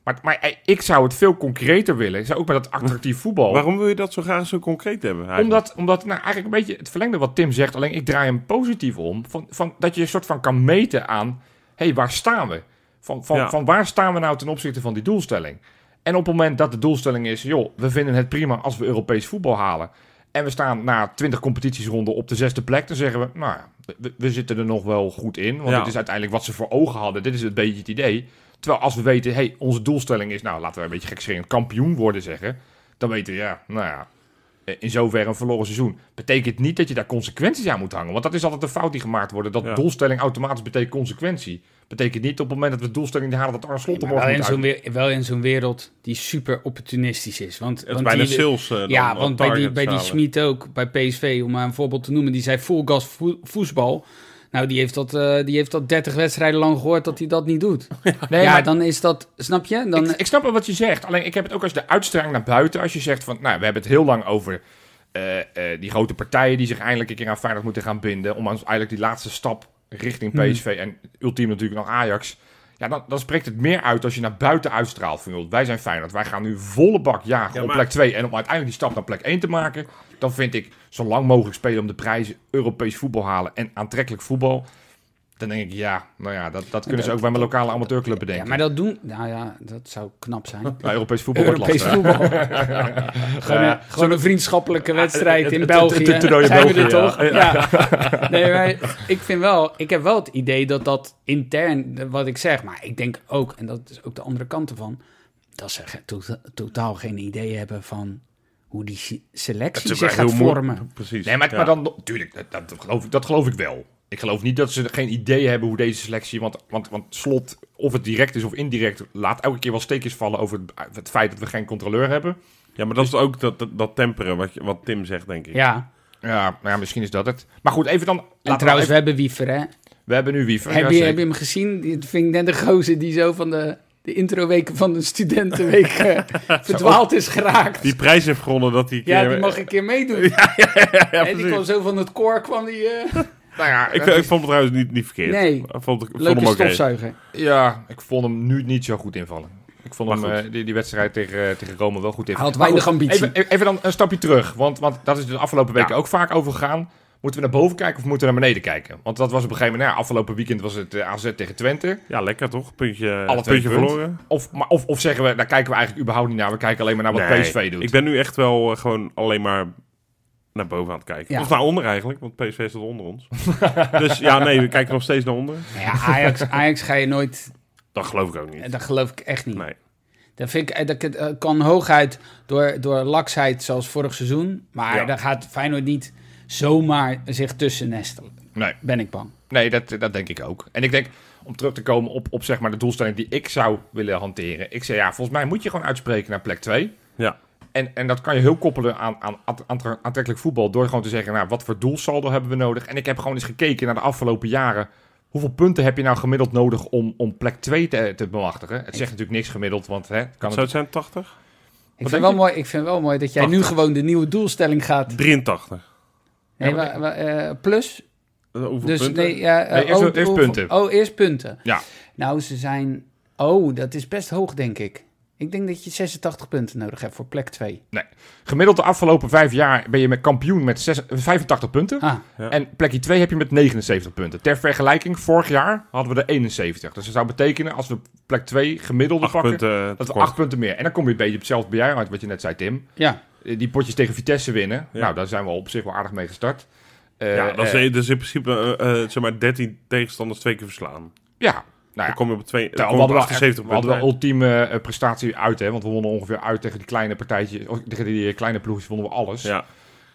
Maar, maar eh, ik zou het veel concreter willen. Ik zou ook met dat attractief
Oh.
voetbal.
Waarom wil je dat zo graag zo concreet hebben? eigenlijk?
Omdat, omdat nou, eigenlijk een beetje het verlengde wat Tim zegt, alleen ik draai hem positief om. Van, van, dat je een soort van kan meten aan, hé, hey, waar staan we? Van, van,
Ja.
van waar staan we nou ten opzichte van die doelstelling? En op het moment dat de doelstelling is, joh, we vinden het prima als we Europees voetbal halen. En we staan na 20 competitiesronden op de zesde plek. Dan zeggen we, nou ja, we, we zitten er nog wel goed in. Want
Ja.
het is uiteindelijk wat ze voor ogen hadden. Dit is een beetje het idee. Terwijl als we weten, hey, onze doelstelling is, nou laten we een beetje gekscherend kampioen worden zeggen. Dan weten we, ja, nou ja, eh, in zoverre een verloren seizoen. Betekent niet dat je daar consequenties aan moet hangen. Want dat is altijd een fout die gemaakt wordt. Dat
Ja.
doelstelling automatisch betekent consequentie. Betekent niet op het moment dat we de doelstelling niet halen dat Arne Slot er
Maar wel,
morgen
in
moet
zo'n
uit.
weer- wel in zo'n wereld die super opportunistisch is. Want,
Het is
want
bijna
die-
sales. eh, dan
Ja,
op
want bij die,
targets
bij die
halen.
Schmid ook, bij PSV, om maar een voorbeeld te noemen, die zei full gas vo- voetbal. Nou, die heeft, dat, eh, die heeft dat 30 wedstrijden lang gehoord dat hij dat niet doet.
Nee,
ja,
maar
dan is dat, snap je? Dan,
ik, ik snap wel wat je zegt. Alleen ik heb het ook als de uitstraling naar buiten. Als je zegt van, nou, we hebben het heel lang over eh, eh, die grote partijen die zich eindelijk een keer aan Feyenoord moeten gaan binden. Om ons eigenlijk die laatste stap richting
Hmm.
PSV en ultiem natuurlijk nog Ajax. Ja, dan, dan spreekt het meer uit als je naar buiten uitstraalt van, joh, wij zijn Feyenoord. Wij gaan nu volle bak jagen
Ja,
op
maar-
plek 2 en om uiteindelijk die stap naar plek 1 te maken. Dan vind ik zo lang mogelijk spelen om de prijzen Europees voetbal halen en aantrekkelijk voetbal. Dan denk ik, ja, nou ja, dat, dat kunnen ze ook bij mijn lokale amateurclub
ja,
bedenken.
maar dat doen, nou ja, dat zou knap zijn.
Nou, Europees voetbal wordt
Europees
lastig.
voetbal. gewoon, een, gewoon een vriendschappelijke wedstrijd in
het- het-
België.
het- het toernooi in
Zijn we er
België,
toch? Ja. Nee, maar ik vind wel, ik heb wel het idee dat dat intern, eh, wat ik zeg, maar ik denk ook, en dat is ook de andere kant ervan, dat ze ge- to- totaal geen idee hebben van hoe die se- selectie
Het
zich
wel
gaat
heel moeilijk.
vormen.
Precies.
Nee, maar,
ja.
maar dan, tuurlijk, dat, dat, geloof ik, dat geloof ik wel. Ik geloof niet dat ze geen idee hebben hoe deze selectie, want, want, want slot, of het direct is of indirect, laat elke keer wel steekjes vallen over het, het feit dat we geen controleur hebben.
Ja, maar dat is ook dat, dat, dat temperen wat, je- wat Tim zegt, denk ik.
Ja,
Ja, nou ja, misschien is dat het. Maar goed, even dan. laten
en
we
trouwens, we
even-
hebben Wiever, hè?
we hebben nu Wiever.
heb,
ja,
je,
zeker.
heb je hem gezien? Die vind ik net de gozer die zo van de, de introweken van de studentenweek eh, verdwaald is geraakt.
Die prijs heeft gewonnen dat hij... een
Ja,
keer-
die mag een keer meedoen. en die
precies.
kwam zo van het koor, kwam die... eh,
Nou ja,
Ik,
dat
ik
is-
vond het trouwens niet, niet verkeerd.
Nee.
Ik vond, ik vond
leuke
hem oké.
stofzuiger.
ja, ik vond hem nu niet zo goed invallen. Ik vond
Maar
hem
goed.
eh, die, die wedstrijd tegen, eh, tegen Rome wel goed
Hij
invallen.
had weinig ambitie.
Even, even dan een stapje terug, want, want dat is de afgelopen weken
Ja.
ook vaak over gegaan. Moeten we naar boven kijken of moeten we naar beneden kijken? Want dat was op een gegeven moment, nou, ja, afgelopen weekend was het eh, AZ tegen Twente.
Ja, lekker toch? Puntje,
Alle twee
puntje
punt.
verloren.
Of, maar, of, of zeggen we, daar kijken we eigenlijk überhaupt niet naar. We kijken alleen maar naar wat
Nee,
PSV doet.
Ik ben nu echt wel eh, gewoon alleen maar naar boven aan het kijken.
Ja.
Of naar onder eigenlijk, want PSV staat onder ons. dus ja, nee, we kijken nog steeds naar onder.
Ja, Nou Ajax, Ajax ga je nooit...
Dat geloof ik ook niet.
Dat geloof ik echt niet.
Nee.
Dat, vind ik, eh, dat eh, kan hooguit door, door laksheid, zoals vorig seizoen. Maar
Ja.
daar gaat Feyenoord niet zomaar zich tussen nestelen.
Nee.
Ben ik bang.
Nee, dat, dat denk ik ook. En ik denk, om terug te komen op, op zeg maar de doelstelling die ik zou willen hanteren. Ik zei, ja, volgens mij moet je gewoon uitspreken naar plek 2.
Ja.
En, en dat kan je heel koppelen aan, aan at- aantre- aantrekkelijk voetbal. Door gewoon te zeggen, nou, wat voor doelsaldo hebben we nodig? En ik heb gewoon eens gekeken naar de afgelopen jaren. Hoeveel punten heb je nou gemiddeld nodig om, om plek 2 te, te bemachtigen? Het zegt natuurlijk niks gemiddeld, want hè,
Zou
kan het...
het zijn 80?
Ik
denk
vind, wel
je?
mooi, ik vind wel mooi dat jij nu
Wacht.
gewoon de nieuwe doelstelling gaat.
83.
Nee,
maar-
wa- wa- eh, plus.
Eh, Hoeveel
Dus
punten?
nee, ja, eh,
Nee, eerst-
oh,
eerst
hoeveel-
punten.
Oh, eerst punten.
Ja.
Nou, ze zijn. Oh, dat is best hoog, denk ik. Ik denk dat je 86 punten nodig hebt voor plek 2.
Gemiddeld de afgelopen vijf jaar ben je met kampioen met zes- 85 punten.
Ah,
Ja.
En plekje 2 heb je met 79 punten. Ter vergelijking, vorig jaar hadden we er 71. Dus dat zou betekenen, als we plek 2 gemiddelde
Acht
pakken,
punten. eh,
dat we
tekort.
8 punten meer. En dan kom je een beetje op hetzelfde bij jou uit, wat je net zei, Tim.
ja.
Eh, Die potjes tegen Vitesse winnen.
Ja.
Nou, daar zijn we op zich wel aardig mee gestart. Eh,
ja, dat is,
eh,
dat is in principe eh, eh, zeg maar 13 tegenstanders twee keer verslaan.
ja. Nou ja.
Dan kom je op, twee, dan
Nou,
kom
we
je op
hadden wel,
78
we hadden wel
punten.
ultieme eh, prestatie uit, hè? want we wonnen ongeveer uit tegen die kleine partijtjes, of tegen die eh, kleine ploegjes wonnen we alles.
Ja.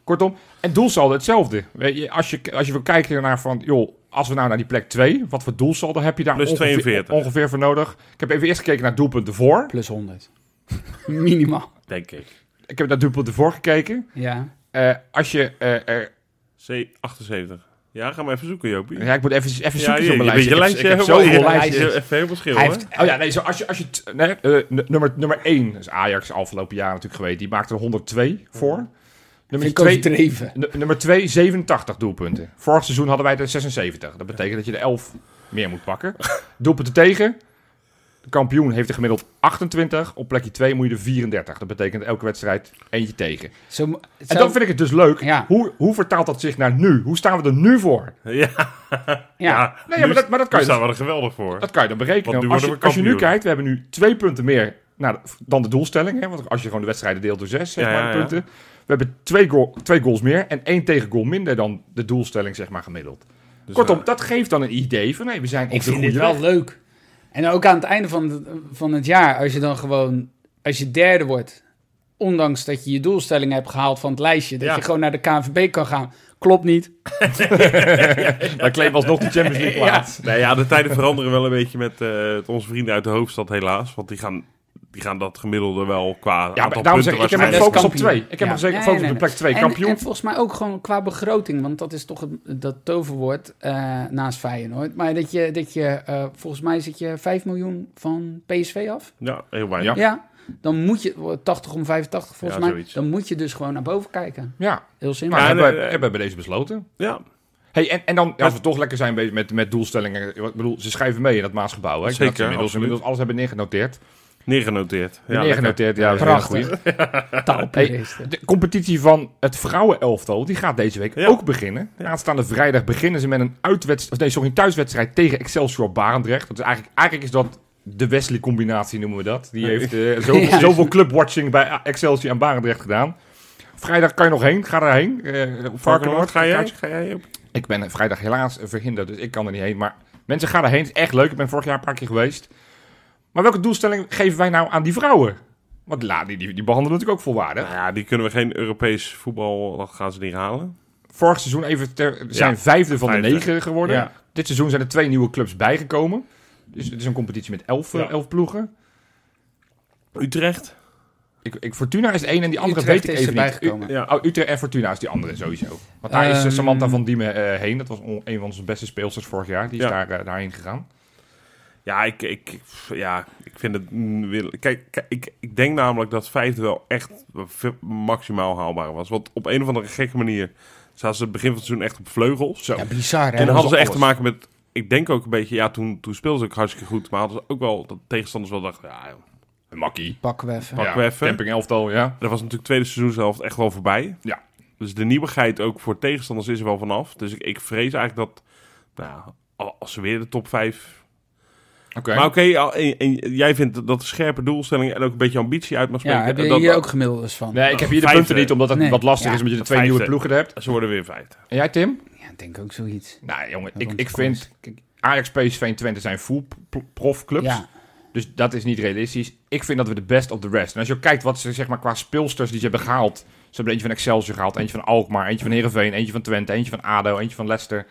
Kortom, en doelsaldo hetzelfde. Weet je, als, je, als je wil kijken naar van, joh, als we nou naar die plek 2, wat voor doelsaldo heb je daar
Plus
ongeveer,
42.
ongeveer voor nodig? Ik heb even eerst gekeken naar doelpunten voor.
Plus 100. Minimaal.
Denk ik.
Ik heb naar doelpunten voor gekeken.
Ja.
Eh, als je, eh, eh,
C 78. Ja, ga maar even zoeken, Jopie.
ja, ik moet even, even
ja,
zoeken op
je,
mijn lijstje.
je
Ik heb-
lijstje
ik heb
helemaal-
zoveel
je
lijstjes.
lijstje even helemaal schil,
Hij
hè?
heeft,
Oh ja, nee, zo als je, als je t- nee, eh, n- nummer, nummer 1 is Ajax afgelopen jaar natuurlijk geweest. Die maakte er 102 voor. Nummer
vind ik
2,
overdreven.
n- nummer 2, 87 doelpunten. Vorig seizoen hadden wij er 76. Dat betekent dat je er 11 meer moet pakken. Doelpunten tegen. De kampioen heeft er gemiddeld 28. Op plekje 2 moet je er 34. Dat betekent elke wedstrijd eentje tegen.
Zo, mo-
En
zo-
dan vind ik het dus leuk.
Ja.
Hoe, hoe vertaalt dat zich naar nu? Hoe staan we er nu voor?
Ja,
Nee,
ja.
ja, maar, dat,
daar
maar dat kan je dus-
staan we er geweldig voor.
dat kan je dan berekenen.
Want nu
als, je,
worden we
als je nu
kampioen.
kijkt, we hebben nu twee punten meer nou, dan de doelstelling. Hè? Want als je gewoon de wedstrijden deelt door zes, zeg
Ja,
maar,
ja,
de
ja.
punten. We hebben twee, goal- twee goals meer en één tegengoal minder dan de doelstelling, zeg maar, gemiddeld.
Dus,
Kortom,
eh,
dat geeft dan een idee van, nee, we zijn op
Ik
de
vind
goede
dit wel
weg.
leuk. En ook aan het einde van het, van het jaar, als je dan gewoon, als je derde wordt, ondanks dat je je doelstelling hebt gehaald van het lijstje, dat
Ja.
je gewoon naar de KNVB kan gaan. Klopt niet.
Wij claimen alsnog de Champions League plaats.
nou ja, de tijden veranderen wel een beetje met eh, onze vrienden uit de hoofdstad, helaas. Want die gaan, die gaan dat gemiddelde wel qua
Ja,
aantal
maar daarom zeg
punten
ik, ik heb me
waarschijnlijk.
gefocust op twee.
Kampioen.
Ik heb
Ja.
me zeker
Nee,
gefocust
nee,
op de plek twee.
En-
Kampioen.
En, volgens mij ook gewoon qua begroting, want dat is toch het- dat toverwoord eh, naast Feyenoord. Maar dat je, dat je eh, volgens mij zit je 5 miljoen van PSV af.
Ja, heel weinig.
Ja.
Ja, dan moet je, 80 om 85 volgens
Ja,
mij,
zoiets.
dan moet je dus gewoon naar boven kijken.
Ja,
Heel simpel.
nou,
Ja,
hebben,
nee,
we-
eh,
hebben we bij deze besloten.
Ja,
Hey, en, en dan, als we toch lekker zijn bezig met, met doelstellingen. Ik bedoel, ze schrijven mee in dat Maasgebouw. Hè? Ik denk
Zeker,
dat ze inmiddels,
absoluut.
inmiddels alles hebben neergenoteerd.
neergenoteerd. Ja, lekker.
neergenoteerd, ja. dat is een hele goeie.
Prachtig. Taalpuristen.
De competitie van het vrouwenelftal die gaat deze week
Ja.
ook beginnen. Aanstaande vrijdag beginnen ze met een, uitwedst- of nee, sorry, een thuiswedstrijd tegen Excelsior Barendrecht. Dat is eigenlijk, eigenlijk is dat de Wesley-combinatie, noemen we dat. Die heeft eh, zoveel,
Ja.
zoveel clubwatching bij eh, Excelsior en Barendrecht gedaan. Vrijdag kan je nog heen, ga daarheen. eh, op Varkenoord,
Varkenoord, ga jij?
kaartje.
Ga jij Joop?
Ik ben eh, vrijdag helaas eh, verhinderd, dus ik kan er niet heen. Maar mensen, gaan daarheen. Het is echt leuk. Ik ben vorig jaar een paar keer geweest. Maar welke doelstelling geven wij nou aan die vrouwen? Want la, die, die, die behandelen natuurlijk ook volwaardig.
Nou ja, die kunnen we geen Europees voetbal, dat gaan ze niet halen.
Vorig seizoen even ter- zijn
Ja,
vijfde van de
vijfde.
negen geworden.
Ja.
Dit seizoen zijn er twee nieuwe clubs bijgekomen. Dus het is een competitie met elf, eh,
Ja.
elf ploegen.
Utrecht?
Ik, ik, Fortuna is de ene en die andere
Utrecht
weet
is
ik even
erbij
niet.
gekomen.
U- oh, Utrecht en Fortuna is die andere sowieso. Want daar is eh,
Ehm.
Samantha van Diemen eh, heen. Dat was on- een van onze beste speelsters vorig jaar. Die is
Ja.
daar, eh, daarheen gegaan.
Ja, ik, ik, pff, ja, ik vind het... mm, wil- Kijk, kijk, ik, ik denk namelijk dat vijfde wel echt v- maximaal haalbaar was. Want op een of andere gekke manier zaten ze het begin van het seizoen echt op vleugels.
Zo.
Ja, bizar hè.
En
dat
hadden
was
ze echt te
alles.
maken met... Ik denk ook een beetje... Ja, toen, toen speelden ze ook hartstikke goed. Maar hadden ze ook wel... Dat tegenstanders wel dachten... Ja, joh,
Een makkie.
Pakken we even.
Pak we even.
Camping elftal, ja.
dat was natuurlijk tweede seizoenshelft echt wel voorbij.
Ja.
Dus de nieuwigheid ook voor tegenstanders is er wel vanaf. Dus ik, ik vrees eigenlijk dat... Nou, ja, als ze weer de top 5
Oké.
Maar oké, al- en- en jij vindt dat- dat de scherpe doelstelling en ook een beetje ambitie uit mag spreken.
Ja, heb je
dat,
hier ook gemiddeldes van?
Nee, ik heb hier de
Vijfde.
punten niet, omdat het
Nee.
wat lastig
Ja.
is, omdat je de twee
Vijfde.
nieuwe ploegen hebt.
Ze worden weer vijfde.
En jij, Tim?
Ja, ik denk ook zoiets.
Nou, jongen,
Dat
ik,
komt
ik
voor
vind... kijk, Ajax, PSV en Twente zijn full pro- profclubs.
Ja,
Dus dat is niet realistisch. Ik vind dat we de best of the rest. En als je ook kijkt wat ze zeg maar, qua speelsters die ze hebben gehaald. Ze hebben eentje van Excelsior gehaald, eentje van Alkmaar, eentje van Heerenveen, eentje van Twente, eentje van ADO, eentje van Leicester.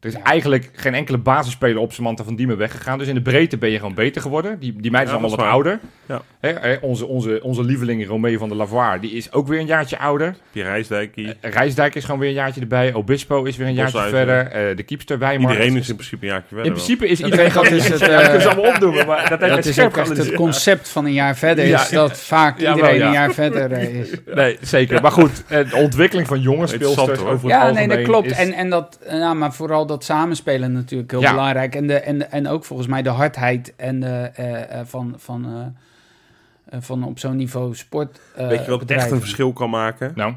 Er is eigenlijk geen enkele basisspeler op Samantha van Diemen weggegaan. Dus in de breedte ben je gewoon beter geworden. Die, die meid is
Ja,
allemaal
dat
wat
is
ouder.
Ja.
Hè, hè, onze, onze, onze lieveling Romeo van der Lavoir, die is ook weer een jaartje ouder.
Die Rijsdijk, die-
Eh, Rijsdijk is gewoon weer een jaartje erbij. Obispo is weer een jaartje
Boshuizen.
verder. Eh, de keepster Wijmar.
iedereen is in principe een jaartje verder.
In
wel.
principe is
Dat-
iedereen
dat
gewoon...
is het,
Ja, dat kunnen ze
eh,
allemaal opdoen, maar dat heeft
Dat
het
is
scherp
ook echt het
geanalyseerd.
concept van een jaar verder.
Ja,
Is dat vaak
Ja, wel,
iedereen
ja.
een jaar verder eh, is.
Nee, zeker. Maar goed, eh, de ontwikkeling van jonge
Interessant,
speelsters
hoor.
over het
Ja, nee,
algemeen
dat klopt.
is-
En, en dat, eh, ja, maar vooral dat samenspelen natuurlijk heel
Ja.
belangrijk. En, de, en, en ook volgens mij de hardheid en de, eh, eh, van, van, eh, eh, van op zo'n niveau sport. eh,
Weet je wat echt
bedrijven.
een verschil kan maken?
Nou,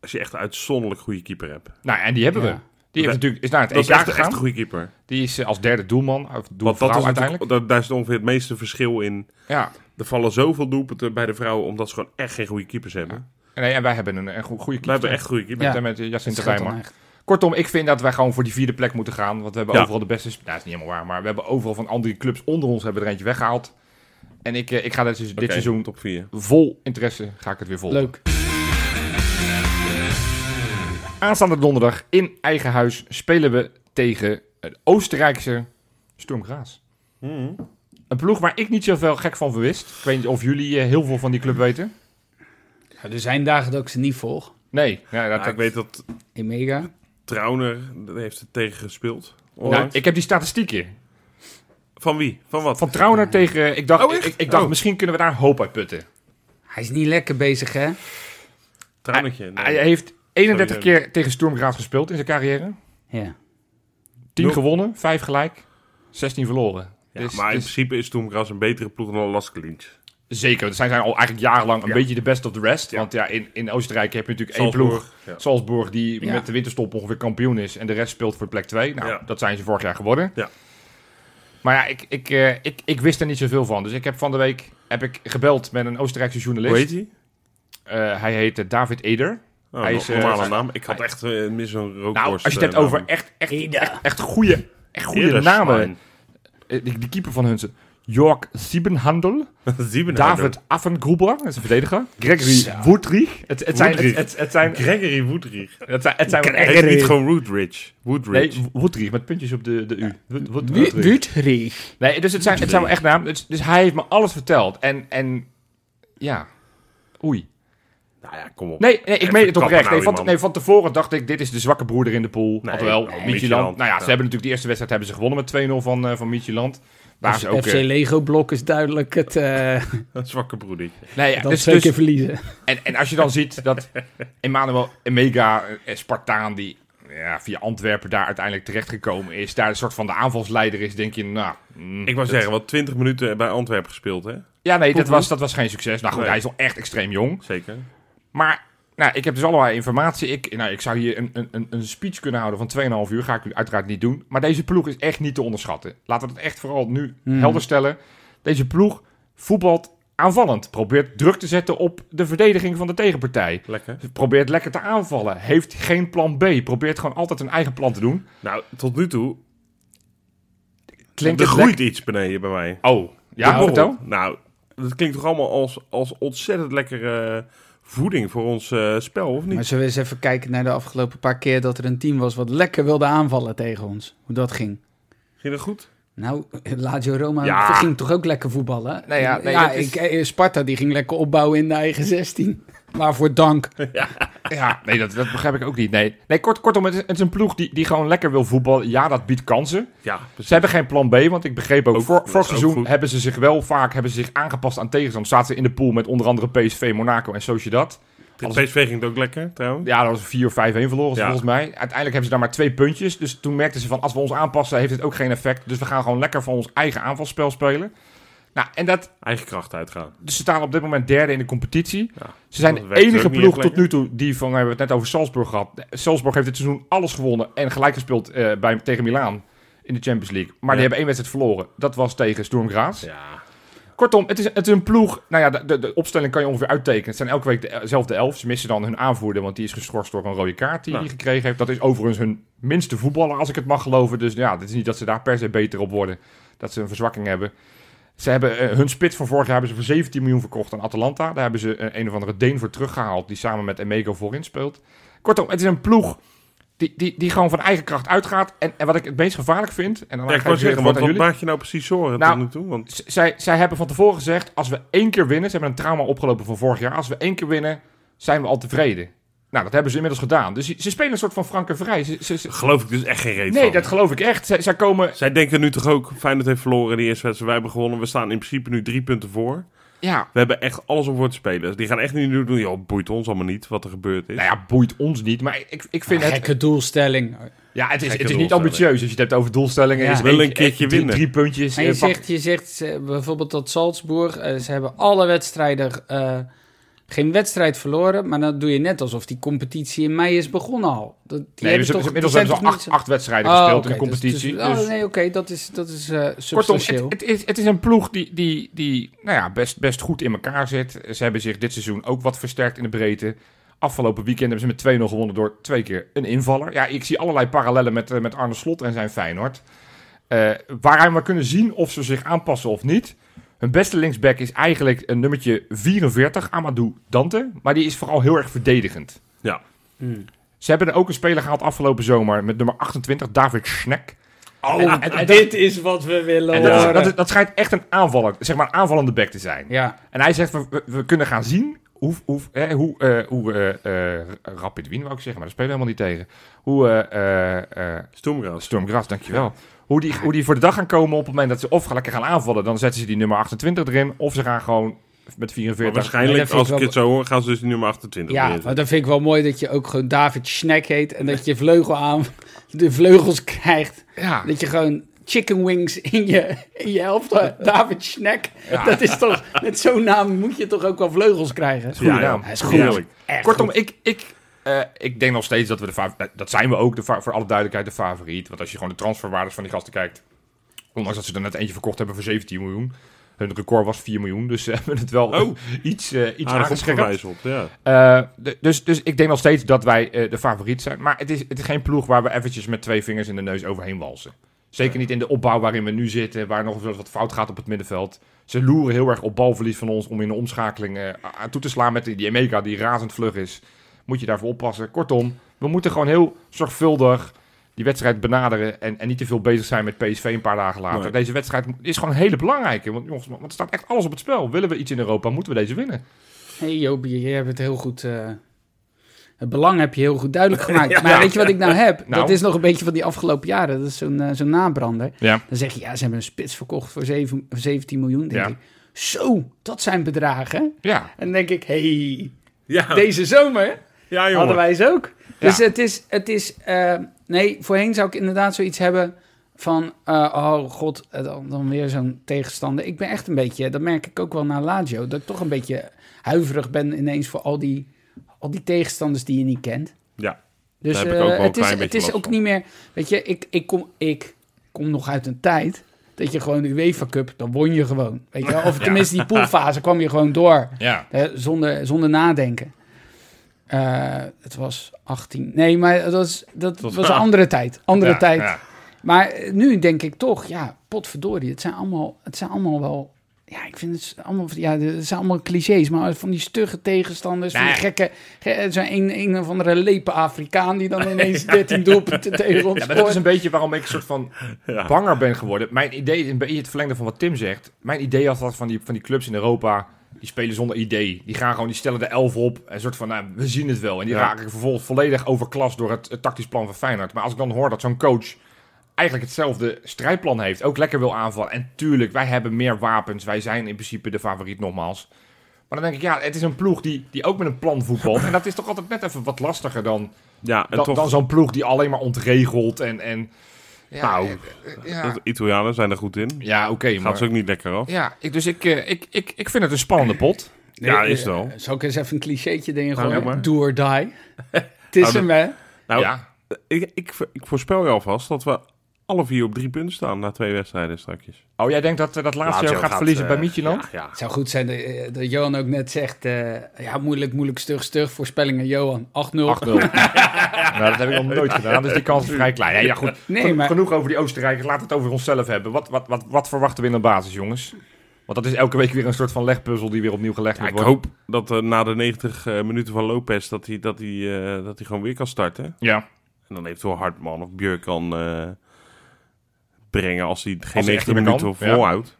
Als je echt een uitzonderlijk goede keeper hebt.
nou, en die hebben we.
Ja.
Die heeft natuurlijk, is naar het
Dat is
EK
echt, echt
gegaan.
een goede keeper.
Die is eh, als derde doelman, of
Want dat
doelvrouw
is
uiteindelijk.
natuurlijk- dat, daar is ongeveer het meeste verschil in.
Ja.
Er vallen zoveel doelpunten bij de vrouwen omdat ze gewoon echt geen goede keepers hebben.
Nee, en wij hebben een, een goe- goede
We
keeper.
hebben echt goede keepers.
Ja.
Met, met eh,
Dat
Jacinta
scheelt dan
Wijmar.
echt.
Kortom, ik vind dat wij gewoon voor die vierde plek moeten gaan. Want we hebben
Ja.
overal de beste... sp- Nou, dat is niet helemaal waar. Maar we hebben overal van andere clubs onder ons hebben we er eentje weggehaald. En ik, eh, ik ga dit, dit
Oké,
seizoen
top 4.
vol interesse ga ik het weer volgen.
Leuk.
Aanstaande donderdag in eigen huis spelen we tegen het Oostenrijkse Sturm Graz. Hmm. Een ploeg waar ik niet zoveel gek van verwist. Ik weet niet of jullie eh, heel veel van die club weten.
Ja, er zijn dagen dat ik ze niet volg.
Nee, ja, dat,
Nou, ik weet dat
In mega.
Trauner dat heeft het tegen gespeeld.
nou,
onlangs.
ik heb die statistieken.
Van wie? Van wat?
Van Trauner tegen... Ik dacht,
Oh,
ik,
echt?
ik dacht
Oh.
misschien kunnen we daar hoop uit putten.
Hij is niet lekker bezig, hè?
Traunertje.
Hij heeft 31
Sorry,
keer tegen Sturm Graz gespeeld in zijn carrière.
Ja.
10
Nul.
gewonnen, 5 gelijk, 16 verloren.
Ja,
Dus-
maar in
dus-
principe is Toemgras een betere ploeg dan Laskelintje.
Zeker, want zij zijn al eigenlijk jarenlang een
Ja.
beetje de best of the rest.
Ja.
Want ja, in, in Oostenrijk heb je natuurlijk één ploeg,
Ja.
Salzburg, die
Ja.
met de winterstop ongeveer kampioen is. En de rest speelt voor plek 2. Nou,
Ja.
dat zijn ze vorig jaar geworden.
Ja.
Maar ja, ik, ik, eh, ik, ik wist er niet zoveel van. Dus ik heb van de week heb ik gebeld met een Oostenrijkse journalist.
Hoe heet hij?
Eh, hij heet eh, David Eder.
Oh,
Hij
hij
is,
is
eh,
normale
hij-
naam. Ik had echt eh, mis zo'n rookworst.
Nou, als je het hebt
eh,
over
naam.
echt, echt, echt, echt goede, echt goede
Eres
namen.
Schwein.
Eh, Die, die keeper van hun, ze- Jörg Siebenhandel.
Siebenheimer.
David Affengruber, dat is een verdediger. Gregory
Zo.
Woodrich. Het, het, zijn, het,
Woodrich.
het, het zijn...
Gregory Woodrich.
Het zijn... Het zijn
Hij heet niet gewoon Woodridge. Woodridge.
nee, Woodrich, met puntjes op de, de U. Wood- Wood- Woodrich.
Wutrig.
Nee, dus het zijn, het zijn wel echt namen. Dus, dus hij heeft me alles verteld. En, en ja, oei.
Nou ja, kom op.
Nee, nee ik
Even
meen het
kappen
oprecht.
nou,
Nee van,
man.
nee, van tevoren dacht ik, dit is de zwakke broeder in de pool.
Nee,
Alhoewel,
nee,
Midtjylland.
Midtjylland.
Nou ja, ze
Ja.
hebben natuurlijk die eerste wedstrijd hebben ze gewonnen met 2-0 van, eh van Midtjylland. Waar ze ook...
FC
eh,
Lego Blok is duidelijk het eh
Een zwakke broedertje.
nee, ja,
dat
dus,
twee
dus,
keer verliezen.
En, en als je dan ziet dat Emmanuel Emega, eh, Spartaan, die ja, via Antwerpen daar uiteindelijk terechtgekomen is, daar een soort van de aanvalsleider is, denk je, nou... mm,
Ik wou
dat-
zeggen, wat 20 minuten bij Antwerpen gespeeld, hè?
Ja, nee, dat was, dat was geen succes. Nou goed,
Nee.
hij is al echt extreem jong.
Zeker.
Maar nou, ik heb dus allerlei informatie. Ik, nou, ik zou hier een, een- een, een speech kunnen houden van 2,5 uur. Ga ik u uiteraard niet doen. Maar deze ploeg is echt niet te onderschatten. Laten we het echt vooral nu helder stellen. Deze ploeg voetbalt aanvallend. Probeert druk te zetten op de verdediging van de tegenpartij.
Lekker.
Probeert lekker te aanvallen. Heeft geen plan B. Probeert gewoon altijd een eigen plan te doen.
Nou, tot nu toe,
Klinkt
er
het
groeit iets beneden bij mij.
lek- Oh, ja,
De
vertel.
borrel. Nou, dat klinkt toch allemaal als, als ontzettend lekkere voeding voor ons eh, spel, of
Maar
niet?
zullen we eens even kijken naar de afgelopen paar keer dat er een team was wat lekker wilde aanvallen tegen ons. Hoe dat ging.
Ging dat goed?
Nou, Lazio Roma
Ja.
ging toch ook lekker voetballen?
Nou ja, nee, dat is-
ik, eh, Sparta die ging lekker opbouwen in de eigen 16. Waarvoor dank.
Ja, nee, dat, dat begrijp ik ook niet. Nee, nee kort, kortom, het is, het is een ploeg die, die gewoon lekker wil voetballen. Ja, dat biedt kansen.
Ja,
Ze hebben geen plan B, want ik begreep ook,
Ook,
voor,
dat
vorig
is ook
seizoen
goed.
hebben ze zich wel vaak hebben ze zich aangepast aan tegenstanders. Zaten ze in de pool met onder andere PSV, Monaco en Sociedad.
Tegen PSV ging het ook lekker, trouwens.
Ja, dat was 4 of 5-1 verloren
Ja.
volgens mij. Uiteindelijk hebben ze daar maar twee puntjes. Dus toen merkten ze van, als we ons aanpassen, heeft het ook geen effect. Dus we gaan gewoon lekker van ons eigen aanvalsspel spelen. Nou, en dat,
Eigen kracht uitgaan.
dus ze staan op dit moment derde in de competitie.
Ja.
Ze zijn
Dat
de
werkt dus
enige
ook niet
ploeg
echt
tot nu
lekker.
toe die van, we hebben het net over Salzburg gehad. Salzburg heeft dit seizoen alles gewonnen en gelijk gespeeld eh, bij, tegen Milaan in de Champions League. Maar die
Ja.
hebben één wedstrijd verloren. Dat was tegen Sturm Graz.
Ja.
Kortom, het is, het is een ploeg. Nou ja, de- de, de opstelling kan je ongeveer uittekenen. Het zijn elke week de- dezelfde elf. Ze missen dan hun aanvoerder, want die is geschorst door een rode kaart die
Ja.
hij gekregen heeft. Dat is overigens hun minste voetballer, als ik het mag geloven. Dus ja, het is niet dat ze daar per se beter op worden. Dat ze een verzwakking hebben. Ze hebben eh, hun spits van vorig jaar hebben ze voor 17 miljoen verkocht aan Atalanta. Daar hebben ze eh, een of andere Deen voor teruggehaald die samen met Emego voorin speelt. Kortom, het is een ploeg die, die, die gewoon van eigen kracht uitgaat. En, en wat ik het meest gevaarlijk vind... En dan
Ja, ik
ga
wou
weer
zeggen,
het
want
woord aan
wat
jullie.
maak je nou precies zorgen
Nou,
tot nu toe? Want
Z- zij, zij hebben van tevoren gezegd, als we één keer winnen... Ze hebben een trauma opgelopen van vorig jaar. Als we één keer winnen, zijn we al tevreden. Nou, dat hebben ze inmiddels gedaan. Dus ze- ze spelen een soort van frank en vrij. Ze, ze- ze-
geloof ik dus echt geen reden
nee, dat geloof ik echt. Zij, zij komen...
Zij denken nu toch ook, Feyenoord heeft verloren in de eerste wedstrijd, wij hebben gewonnen. We staan in principe nu drie punten voor.
Ja,
We hebben echt alles om voor te spelen. Dus die gaan echt niet nu doen, joh, boeit ons allemaal niet wat er gebeurd is.
nou ja, boeit ons niet. Maar ik, ik vind het...
Gekke doelstelling.
Ja, het is, het is
Gekke
niet
doelstelling.
ambitieus. Als je het hebt over doelstellingen,
Ja.
is
Wel
één-
een keertje
eh, drie-
winnen.
Drie puntjes.
En je
eh, pak-
zegt, je zegt eh, bijvoorbeeld dat Salzburg, eh, ze hebben alle wedstrijden eh, geen wedstrijd verloren, maar dan doe je net alsof die competitie in mei is begonnen al. Dat, die
nee, dus
toch-
inmiddels
die zijn
hebben ze
toch
acht,
niet zo-
acht wedstrijden
Oh,
gespeeld
oké,
in de
dus-
competitie.
dus- oh,
dus-
nee, oké, dat is, dat is eh,
Kortom,
substantieel.
het, het, is, het is een ploeg die, die, die nou ja, best, best goed in elkaar zit. Ze hebben zich dit seizoen ook wat versterkt in de breedte. Afgelopen weekend hebben ze met 2-0 gewonnen door twee keer een invaller. Ja, ik zie allerlei parallellen met, eh, met Arne Slot en zijn Feyenoord. Eh waaruit we kunnen zien of ze zich aanpassen of niet. Hun beste linksback is eigenlijk een nummertje 44, Amadou Dante. Maar die is vooral heel erg verdedigend.
Ja.
Hmm.
Ze hebben er ook een speler gehaald afgelopen zomer met nummer 28, David Schneck.
Oh,
En- en- en-
dit is wat we willen
en dat, is- dat, is- dat schijnt echt een aanvaller, zeg maar een aanvallende back te zijn.
Ja,
En hij zegt, we, we- we kunnen gaan zien hoe, hoe, hè, hoe, eh, hoe eh, eh, Rapid Wien, wou ik zeggen, maar daar spelen we helemaal niet tegen. Hoe eh, eh, eh,
Stoemgras.
Stormgras, dankjewel. Hoe die, hoe die voor de dag gaan komen op het moment dat ze of lekker gaan aanvallen, dan zetten ze die nummer 28 erin, of ze gaan gewoon met
Maar
44.
waarschijnlijk,
Nee, dat vind
als
ik
ik
wel-
het zo hoor, gaan ze dus die nummer 28
ja
neerzetten.
maar dan vind ik wel mooi dat je ook gewoon David Schneck heet en dat je vleugel aan, de vleugels krijgt.
Ja.
Dat je gewoon chicken wings in je, in je helft, eh, David Schneck. Dat is toch, met zo'n naam moet je toch ook wel vleugels krijgen.
goede naam.
Hij is
Ja,
goed.
heerlijk.
Echt
Kortom,
goed.
ik, ik, eh, ik denk nog steeds dat we de fa- eh, Dat zijn we ook, de fa- voor alle duidelijkheid, de favoriet. Want als je gewoon de transferwaardes van die gasten kijkt... Ondanks dat ze er net eentje verkocht hebben voor 17 miljoen. Hun record was 4 miljoen, dus ze hebben het wel
Oh.
iets, eh iets
Aardig
aangescherpt.
opgewijzeld, ja.
Eh, d- dus, dus ik denk nog steeds dat wij eh, de favoriet zijn. Maar het is, het is geen ploeg waar we eventjes met twee vingers in de neus overheen walsen. Zeker niet in de opbouw waarin we nu zitten, waar nog wel eens wat fout gaat op het middenveld. Ze loeren heel erg op balverlies van ons om in de omschakeling eh, aan toe te slaan met die- die Emeka die razend vlug is. Moet je daarvoor oppassen. Kortom, we moeten gewoon heel zorgvuldig die wedstrijd benaderen en, en niet te veel bezig zijn met PSV een paar dagen later.
Nee.
Deze wedstrijd is gewoon een hele belangrijke, want, jongens, want er staat echt alles op het spel. Willen we iets in Europa, moeten we deze winnen.
Hey Jopie, jij hebt het heel goed... eh, het belang heb je heel goed duidelijk gemaakt. Maar weet je wat ik nou heb?
Nou.
Dat is nog een beetje van die afgelopen jaren. Dat is zo'n eh, zo'n nabrander.
Ja.
Dan zeg je, ja, ze hebben een spits verkocht voor zeven- 17 miljoen. Denk
Ja.
ik. Zo, dat zijn bedragen.
Ja,
En dan denk ik, hey,
Ja,
deze zomer
ja jongen.
hadden wij ze ook.
Ja.
Dus het is, het is eh, nee, voorheen zou ik inderdaad zoiets hebben van, eh, oh god, eh, dan, dan weer zo'n tegenstander. Ik ben echt een beetje, dat merk ik ook wel na Lazio, dat ik toch een beetje huiverig ben ineens voor al die, al die tegenstanders die je niet kent.
Ja.
Dus
Daar heb ik ook
eh,
wel een
het is,
klein
het
beetje
is
last
ook
van.
niet meer, weet je, ik, ik, kom, ik kom nog uit een tijd dat je gewoon de UEFA Cup, dan won je gewoon. Weet je, wel? of tenminste die poolfase kwam je gewoon door.
ja.
Hè, Eh, zonder, zonder nadenken. Eh, het was 18. Nee, maar dat was, dat
was-
was een andere tijd. Andere
Ja,
tijd.
ja.
Maar eh, nu denk ik toch, ja, potverdorie. Het zijn allemaal, het zijn allemaal wel... Ja, ik vind het allemaal, ja, het zijn allemaal clichés, maar van die stugge tegenstanders, van die
Nee.
gekke, ge- eh, zo'n een, een of andere lepe Afrikaan die dan ineens 13 doelpunten tegen ons
Ja, maar dat is
scoort.
een beetje waarom ik een soort van
Ja.
banger ben geworden. Mijn idee, een beetje het verlengde van wat Tim zegt. Mijn idee was dat van die, van die clubs in Europa, die spelen zonder idee. Die gaan gewoon, die stellen de elf op. En een soort van, nou, we zien het wel. En die
Ja.
raken vervolgens volledig overklast door het, het tactisch plan van Feyenoord. Maar als ik dan hoor dat zo'n coach eigenlijk hetzelfde strijdplan heeft. Ook lekker wil aanvallen. En tuurlijk, wij hebben meer wapens. Wij zijn in principe de favoriet nogmaals. Maar dan denk ik, ja, het is een ploeg die, die ook met een plan voetbalt. En dat is toch altijd net even wat lastiger dan...
Ja, en
dan,
toch,
dan zo'n ploeg die alleen maar ontregelt en... en ja,
Nou,
eh, eh, ja,
de Italianen zijn er goed in.
ja oké,
Gaat ze
maar...
ook niet lekker af.
Ja, ik, dus ik, eh, ik, ik, ik vind het een
Oh.
spannende pot.
Ja, is het wel.
Eh, Zal ik eens even een cliché erin
Nou,
gooien?
doe maar.
Do or die. Het is
Oh,
Nou,
hem, hè?
Nou,
ja.
ik, ik, ik voorspel je alvast dat we alle vier op drie punten staan na twee wedstrijden straks.
Oh, jij denkt dat eh, dat laatste
Lazio
gaat,
gaat,
verliezen
eh,
bij Mietjeland?
Ja,
Het zou goed zijn dat, eh, dat Johan ook net zegt... eh, ja, moeilijk, moeilijk, stug, stug. Voorspellingen, Johan,
8-0.
8-0.
nou, dat heb ik nog nooit gedaan, dus die kans is vrij klein. Nee, ja, goed.
Nee,
Geno-
maar-
Genoeg over die Oostenrijkers, laten we het over onszelf hebben. Wat, wat, wat, wat verwachten we in de basis, jongens? Want dat is elke week weer een soort van legpuzzel die weer opnieuw gelegd
Ja,
moet
ik
worden.
hoop dat eh, na de 90 eh, minuten van Lopez dat hij, dat, hij, eh, dat hij gewoon weer kan starten.
Ja,
En dan eventueel Hartman of Björk kan eh, brengen als hij geen
echt
90
niet meer
minuten
kan, ja.
volhoudt.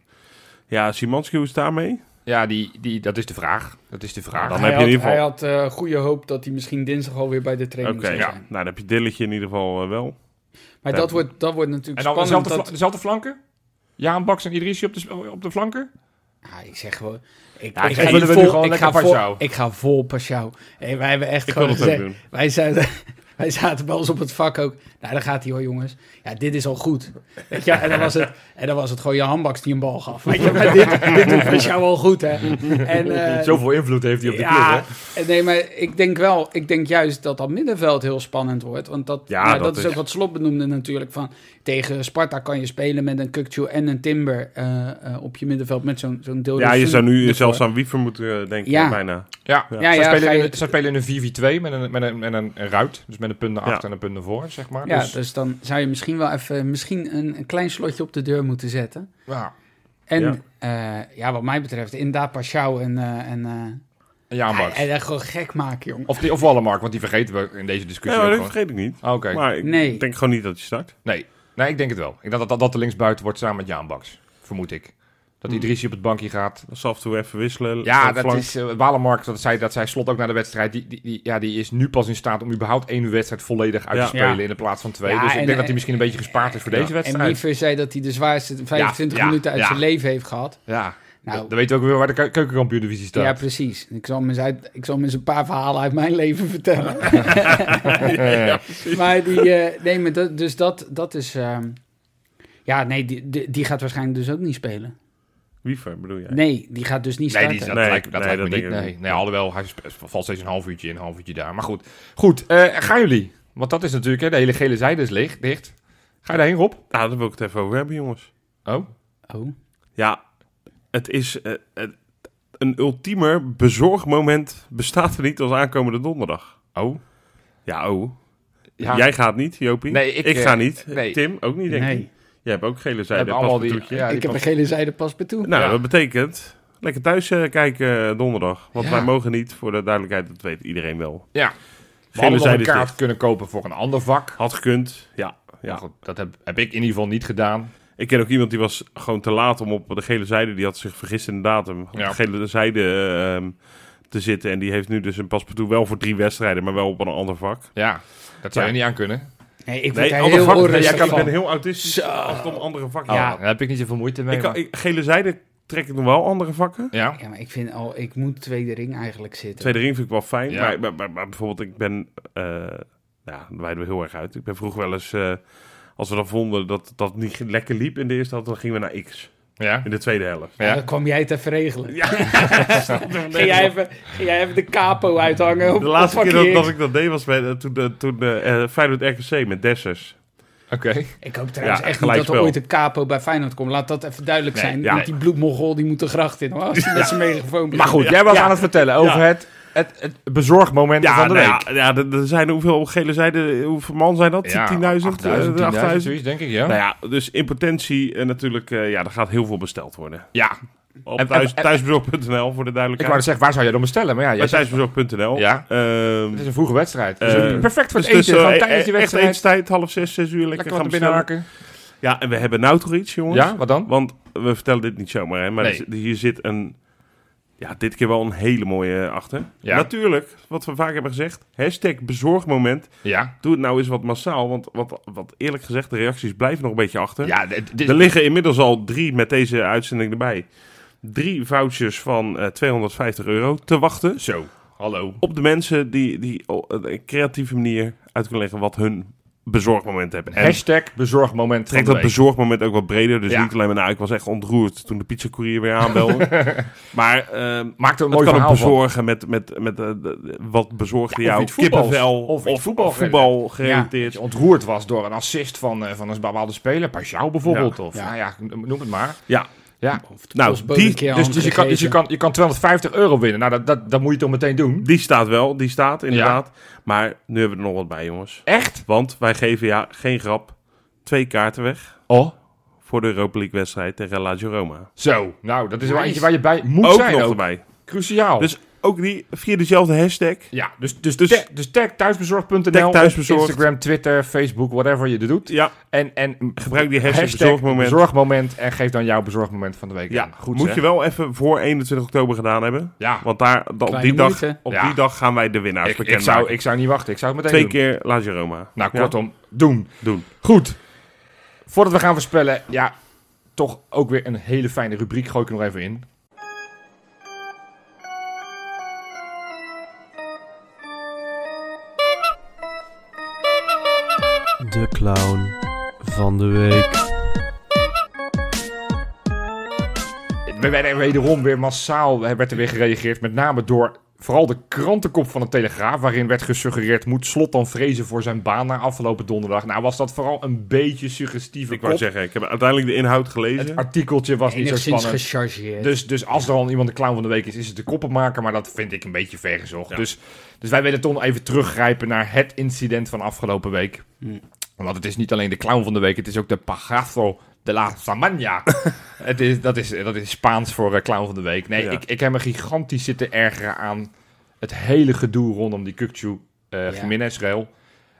Ja, Simanski, hoe is het daarmee?
ja die, die, dat is de vraag. Dat is de vraag.
dan
hij
heb je in
had-
ieder geval-
Hij had eh, goede hoop dat hij misschien dinsdag alweer bij de
Oké,
training zou
ja.
zijn.
nou dan heb je Dilletje in ieder geval eh, wel.
Maar
Ja.
dat, wordt, dat wordt natuurlijk
en dan
spannend.
dezelfde, fla-
dat-
dezelfde flanken? Jaan Baks en Idrissi op de, s- op de flanken?
Ah, ik zeg gewoon... Ik,
Ja,
ik,
ik
ga
wil
hier
er nu
vol-
gewoon
ik
lekker
ga
Paschou.
vol, ik ga vol Paschou. Hey, wij hebben echt
Ik wil
gewoon
het ook
gezegd-
doen.
Wij zaten, wij zaten bij ons op het vak ook. Nou, daar gaat hij hoor, jongens. Ja, dit is al goed. Weet je, en, dan was het, en dan was het gewoon je handbaks die een bal gaf. Weet je, maar dit, dit doet voor jou al goed, hè? En, eh,
Zoveel invloed heeft hij op de club,
ja,
hè?
nee, maar ik denk wel, ik denk juist dat dat middenveld heel spannend wordt. Want dat,
Ja,
ja, dat,
dat
is
is-
ook wat Slot benoemde natuurlijk. Van, tegen Sparta kan je spelen met een Kukcu en een Timber eh, eh, op je middenveld met zo'n zo'n deel.
Ja, je zou nu zelfs aan Wiever moeten eh, denken,
Ja.
bijna.
Ja,
Ja.
ja.
Ja,
zij,
ja,
spelen
ga je-
in, een- zij spelen in een 4v2 met een, met een, met een, een ruit. Dus met een punt naar
Ja.
achter en een punt naar voor, zeg maar.
Ja,
dus,
dus dan zou je misschien wel even misschien een, een klein slotje op de deur moeten zetten.
ja.
Ja.
En ja. ja, wat mij betreft, inderdaad Paschou en... eh en eh,
Een Jaan Baks.
hij, hij gewoon gek maken, jongen.
Of, die, of Wallenmark, want die vergeten we in deze
Ja,
discussie
maar
ook
dat
gewoon.
vergeet ik niet.
Ah, Oké,
Maar ik
Nee.
denk gewoon niet dat je start.
nee. Nee, ik denk het wel. Ik denk dat, dat, dat de linksbuiten wordt samen met Jaan Baks. Vermoed ik. Dat Idrissi op het bankje gaat.
Dan zal af en toe even wisselen.
Ja,
op
dat
flank.
is eh, Walenmark, dat zei, dat zei Slot ook na de wedstrijd. Die, die, die- ja, die is nu pas in staat om überhaupt één wedstrijd volledig uit
Ja.
te spelen
Ja.
in de plaats van twee.
Ja,
dus ik
en,
denk dat
eh,
hij misschien een beetje gespaard is voor
ja.
deze
En
wedstrijd.
Miefer zei dat hij de zwaarste 25
Ja, ja,
minuten uit
ja.
zijn leven heeft gehad.
ja,
Nou.
dan weten we ook weer waar de keu- keukenkampioen-divisie staat.
Ja, precies. Ik zal, hem eens uit, ik zal hem eens een paar verhalen uit mijn leven vertellen.
Eh,
maar die, eh, nee, maar dat, dus dat, dat is... ehm, ja, nee, die, die, die gaat waarschijnlijk dus ook niet spelen.
Wiever bedoel jij?
Nee, die gaat dus niet
Nee,
starten.
die, dat
Nee,
lijkt, dat
nee,
lijkt me
dat
niet.
denk ik
Nee.
ook
nee, alhoewel, hij sp- valt steeds een half uurtje in, een half uurtje daar. Maar goed, goed eh, gaan jullie? Want dat is natuurlijk, hè, de hele gele zijde is leeg, dicht. Ga je daarheen, Rob?
Nou, daar wil ik het even over hebben, jongens.
Oh,
Oh.
Ja, het is eh, het- een ultiemer bezorgmoment bestaat er niet als aankomende donderdag.
oh.
Ja, oh.
Ja.
Jij gaat niet, Jopie.
Nee, ik, eh,
ga niet.
nee.
Tim ook niet, denk
Nee.
ik. Jij hebt ook gele
We
zijde.
hebben allemaal die-
paspoortje.
ja, die
ik heb
pas-
een gele zijde pas bij toe.
Nou,
Ja.
dat betekent lekker thuis eh, kijken eh, donderdag. Want
Ja.
wij mogen niet, voor de duidelijkheid, dat weet iedereen wel.
Ja, we
Gele
hadden nog een
zijde is
kaart
dicht.
kunnen kopen voor een ander vak.
Had gekund. Ja,
Ja.
ja.
Goed, dat heb, heb ik in ieder geval niet gedaan.
Ik ken ook iemand die was gewoon te laat om op de gele zijde. Die had zich vergist in de datum. Op
Ja.
de gele zijde eh, ehm, te zitten. En die heeft nu dus een paspoort wel voor drie wedstrijden, maar wel op een ander vak.
Ja, dat zou
Ja.
je niet aan kunnen.
Nee, ik word
Nee,
daar
ander
heel
vak. Nee,
onrustig
jij kan, ik
van.
ben heel autistisch als het om andere vakken
Ja.
gaat.
Oh, daar heb ik niet zoveel moeite mee.
Ik kan,
maar-
ik- gele zijde trek ik nog wel andere vakken.
Ja,
Ja, maar ik vind al, ik moet tweede ring eigenlijk zitten.
Tweede ring vind ik wel fijn.
Ja.
Maar, maar, maar, maar bijvoorbeeld, ik ben... eh ja, dan wijden we heel erg uit. Ik ben vroeg wel eens... eh, als we dan vonden dat dat niet lekker liep in de eerste helft, dan gingen we naar X.
ja.
In de tweede helft.
Ja,
ja.
Dan kwam jij het even regelen.
Ja.
Ging, jij even, ging jij even de capo uithangen? Op,
De laatste
op
keer dat,
parkeer?
dat ik dat deed was bij, eh, toen, eh, toen eh, eh, Feyenoord RKC met Dessers.
Oké.
Ik hoop trouwens
Ja,
echt niet dat
gelijkspel.
er ooit een capo bij Feyenoord komt. Laat dat even duidelijk
Nee,
zijn.
ja.
Want die bloedmogol die moet de gracht in. Hoor, als hij met zijn megafoon
Maar goed, jij was aan het vertellen over
Ja.
het, het, het bezorgmoment van
nou
de week.
ja, ja, er er zijn hoeveel op gele zijde, hoeveel man zijn dat? 10.000? eh,
8000, 10.000,
8.000?
zoiets, denk ik, ja.
Nou ja, dus in potentie eh, natuurlijk, eh, ja, er gaat heel veel besteld worden.
Ja,
Op
En-
thuis,
en- en-
thuisbezorg.nl voor de
ik wou dus
duidelijkheid.
zeggen, waar zou jij dan bestellen? Maar ja, jij
Bij
zegt,
thuisbezorg.nl.
Ja.
Ehm,
het is een vroege wedstrijd. Dus
Eh,
perfect voor
dus
het eten,
tussen,
gewoon
eh,
tijdens die
eh, echt
wedstrijd.
etenstijd, half zes, zes uur, lekker
lekker
gaan
wat
bestellen.
binnenhaken.
Ja, en we hebben nou toch iets, jongens.
Ja, wat dan?
Want we vertellen dit niet zomaar, hè? maar
Nee.
er zit- hier zit een, ja, dit keer wel een hele mooie eh, achter.
Ja.
Natuurlijk, wat we vaak hebben gezegd, hashtag bezorgmoment.
Ja,
Doe het nou eens wat massaal, want wat, wat eerlijk gezegd, de reacties blijven nog een beetje achter.
ja dit, dit-
Er liggen inmiddels al drie, met deze uitzending erbij, drie vouchers van eh, 250 euro te wachten.
zo, hallo.
Op de mensen die, die eh, op een creatieve manier uit kunnen leggen wat hun bezorgmoment hebben. En-
Hashtag bezorgmoment van
Trek
de
dat
week.
bezorgmoment ook wat breder. Dus
Ja.
niet alleen maar, nou, ik was echt ontroerd toen de pizzacourier weer aanbelde. maar ehm
Maakt er
het
een mooi
kan ook
verhaal van.
bezorgen met, met, met eh, de- de- wat bezorgde
Ja, of
jou.
iets voetbals.
Kippenvel
Of iets voetbal
voetbal
dat
gerelateerd.
je
Ja,
ontroerd was door een assist van, eh, van een bepaalde speler. Pajou bijvoorbeeld. Of,
Ja.
nou ja, noem het maar. Ja.
nou,
Bosbo een
die,
keer
Dus, dus je, kan, dus je,
gegeven.
kan, je kan 250 euro winnen. Nou, dat, dat, dat moet je toch meteen doen?
die staat wel, die staat inderdaad. Maar nu hebben we er nog wat bij, jongens.
Echt?
Want wij geven, ja, geen grap, twee kaarten weg
Oh.
voor de Europa League wedstrijd tegen Lazio Roma.
Zo, nou, dat is wel
Nice.
eentje waar je bij moet
ook
zijn
nog
ook.
erbij.
Cruciaal.
Dus ook die via dezelfde hashtag.
Oh. ja, dus, dus,
Dus-
dus, tag, dus tag thuisbezorgd.nl,
Tag thuisbezorgd.
op Instagram, Twitter, Facebook, whatever je er doet.
Ja,
En, en
gebruik die hashtag, bezorgmoment.
bezorgmoment en geef dan jouw bezorgmoment van de week.
ja
aan. goed
moet
zeg.
je wel even voor 21 oktober gedaan hebben.
Ja,
Want daar, dan- op,
Kleine
die dag,
moeite.
op
Ja.
die dag gaan wij de winnaars
ik, ik,
bekendmaken.
zou, ik zou niet wachten. Ik zou het meteen
Twee
doen.
keer Lazio Roma.
Nou,
Ja,
kortom, doen.
doen.
Goed. Voordat we gaan voorspellen, ja, toch ook weer een hele fijne rubriek. Gooi ik er nog even in.
De clown van de week.
We werden wederom weer massaal werd er weer gereageerd. Met name door vooral de krantenkop van de Telegraaf. Waarin werd gesuggereerd: moet slot dan vrezen voor zijn baan na afgelopen donderdag? Nou, was dat vooral een beetje suggestieve
Ik wou
kop.
zeggen, ik heb uiteindelijk de inhoud
Het
gelezen.
artikeltje was niet zo
Enigszins
spannend.
gechargeerd.
Dus, dus als er al iemand de clown van de week is, is het de koppenmaker. Maar dat vind ik een beetje vergezocht.
Ja.
Dus, dus wij willen toch nog even teruggrijpen naar het incident van afgelopen week.
Hm.
Want het is niet alleen de clown van de week, het is ook de Pagazo de la Samania. het is, dat, is, dat is Spaans voor eh, clown van de week. Nee,
Ja.
ik, ik heb me gigantisch zitten ergeren aan het hele gedoe rondom die Kukchu eh
Ja.
Jiménez-rail.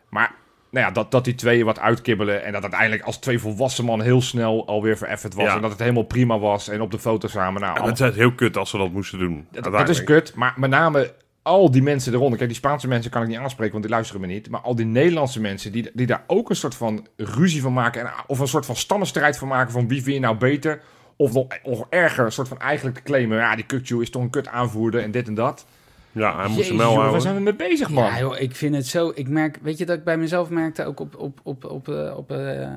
Maar nou ja, dat, dat die tweeën wat uitkibbelen en dat uiteindelijk als twee volwassen mannen heel snel alweer vereffend was.
Ja.
En dat het helemaal prima was en op de foto samen. Nou,
Het is heel kut als ze dat moesten doen.
dat, dat is kut, maar met name al die mensen eronder. Kijk, die Spaanse mensen kan ik niet aanspreken, want die luisteren me niet. Maar al die Nederlandse mensen die, die daar ook een soort van ruzie van maken. En, of een soort van stammenstrijd van maken van wie vind je nou beter. Of nog, nog erger, een soort van eigenlijk te claimen. Ja, die Kukju is toch een kut aanvoerder en dit en dat.
Ja, hij moest
Jezus,
hem wel
jongen, waar
houden.
zijn we mee bezig, man?
Ja, joh, ik vind het zo. Ik merk, weet je dat ik bij mezelf merkte ook op, op, op, op, eh, op, eh,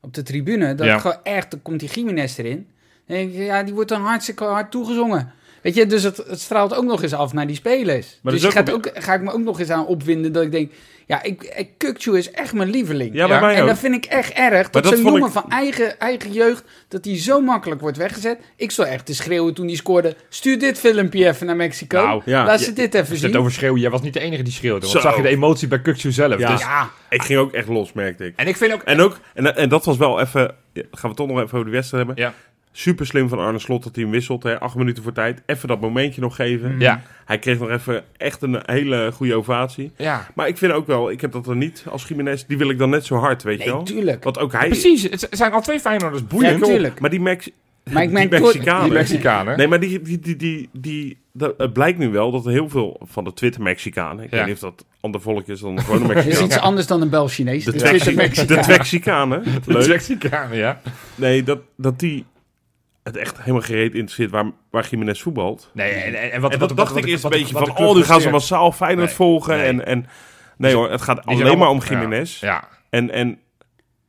op de tribune. Dat
Ja.
ik gewoon echt, dan komt die Gimenez erin. Dan denk ik, ja, die wordt dan hartstikke hard toegezongen. Weet je, dus het, het straalt ook nog eens af naar die spelers.
dat
dus
is
je
ook
gaat
een-
ook, ga ik me ook nog eens aan opwinden dat ik denk, ja, ik, ik Kukçu is echt mijn lieveling.
Ja, bij
Ja,
mij
en
ook.
dat vind ik echt erg. Dat,
dat
zo'n
vond
jongen
ik-
van eigen, eigen jeugd, dat die zo makkelijk wordt weggezet. Ik stond echt te schreeuwen toen die scoorde. Stuur dit filmpje even naar Mexico.
Nou,
ja.
Laat
Ja,
ze dit even
Als je
zien.
het over schreeuwen, jij was niet de enige die schreeuwde. Want
Zo.
zag je de emotie bij Kukju zelf.
Ja.
Dus,
Ja,
Ik ging ook echt los, merkte ik.
en ik vind ook...
En ook, en, en dat was wel even, ja, gaan we toch nog even over de wedstrijd hebben.
Ja.
Super slim van Arne Slot dat hij hem wisselt, hè, acht minuten voor tijd. Even dat momentje nog geven.
Ja.
Hij kreeg nog even echt een hele goede ovatie.
Ja.
Maar ik vind ook wel, ik heb dat er niet als Jiménez, die wil ik dan net zo hard, weet je
nee,
wel.
tuurlijk.
Want ook hij...
Precies, het zijn al twee Feyenoorders.
Ja,
Boeiend.
tuurlijk.
Maar die, Mex,
Maar ik merk
die
toch-
Mexicanen...
die Mexicanen.
Nee, maar die, die, die, die, die- dat, het blijkt nu wel dat heel veel van de Twitter-Mexicanen... Ik
Ja.
weet niet of dat ander volk is dan de gewone
Het is
Mexicanen.
iets anders dan een Bel Chinees.
De
Dus het is een
Twexi-
Mexica-
de Twexicanen.
De
Leuk.
Mexicanen, ja.
Nee, dat, dat die het echt helemaal gereed interesseert waar, waar Jiménez voetbalt.
Nee, en, en, en wat,
en dat
wat- wat-
dacht
wat-
ik eerst
wat-
een beetje
wat de
van,
club
oh, nu gaan ze
presteert.
massaal Feyenoord
Nee,
volgen.
nee.
En, en, nee hoor, het gaat
Die zijn
alleen maar om
allemaal- ja,
Jiménez.
Ja,
En, en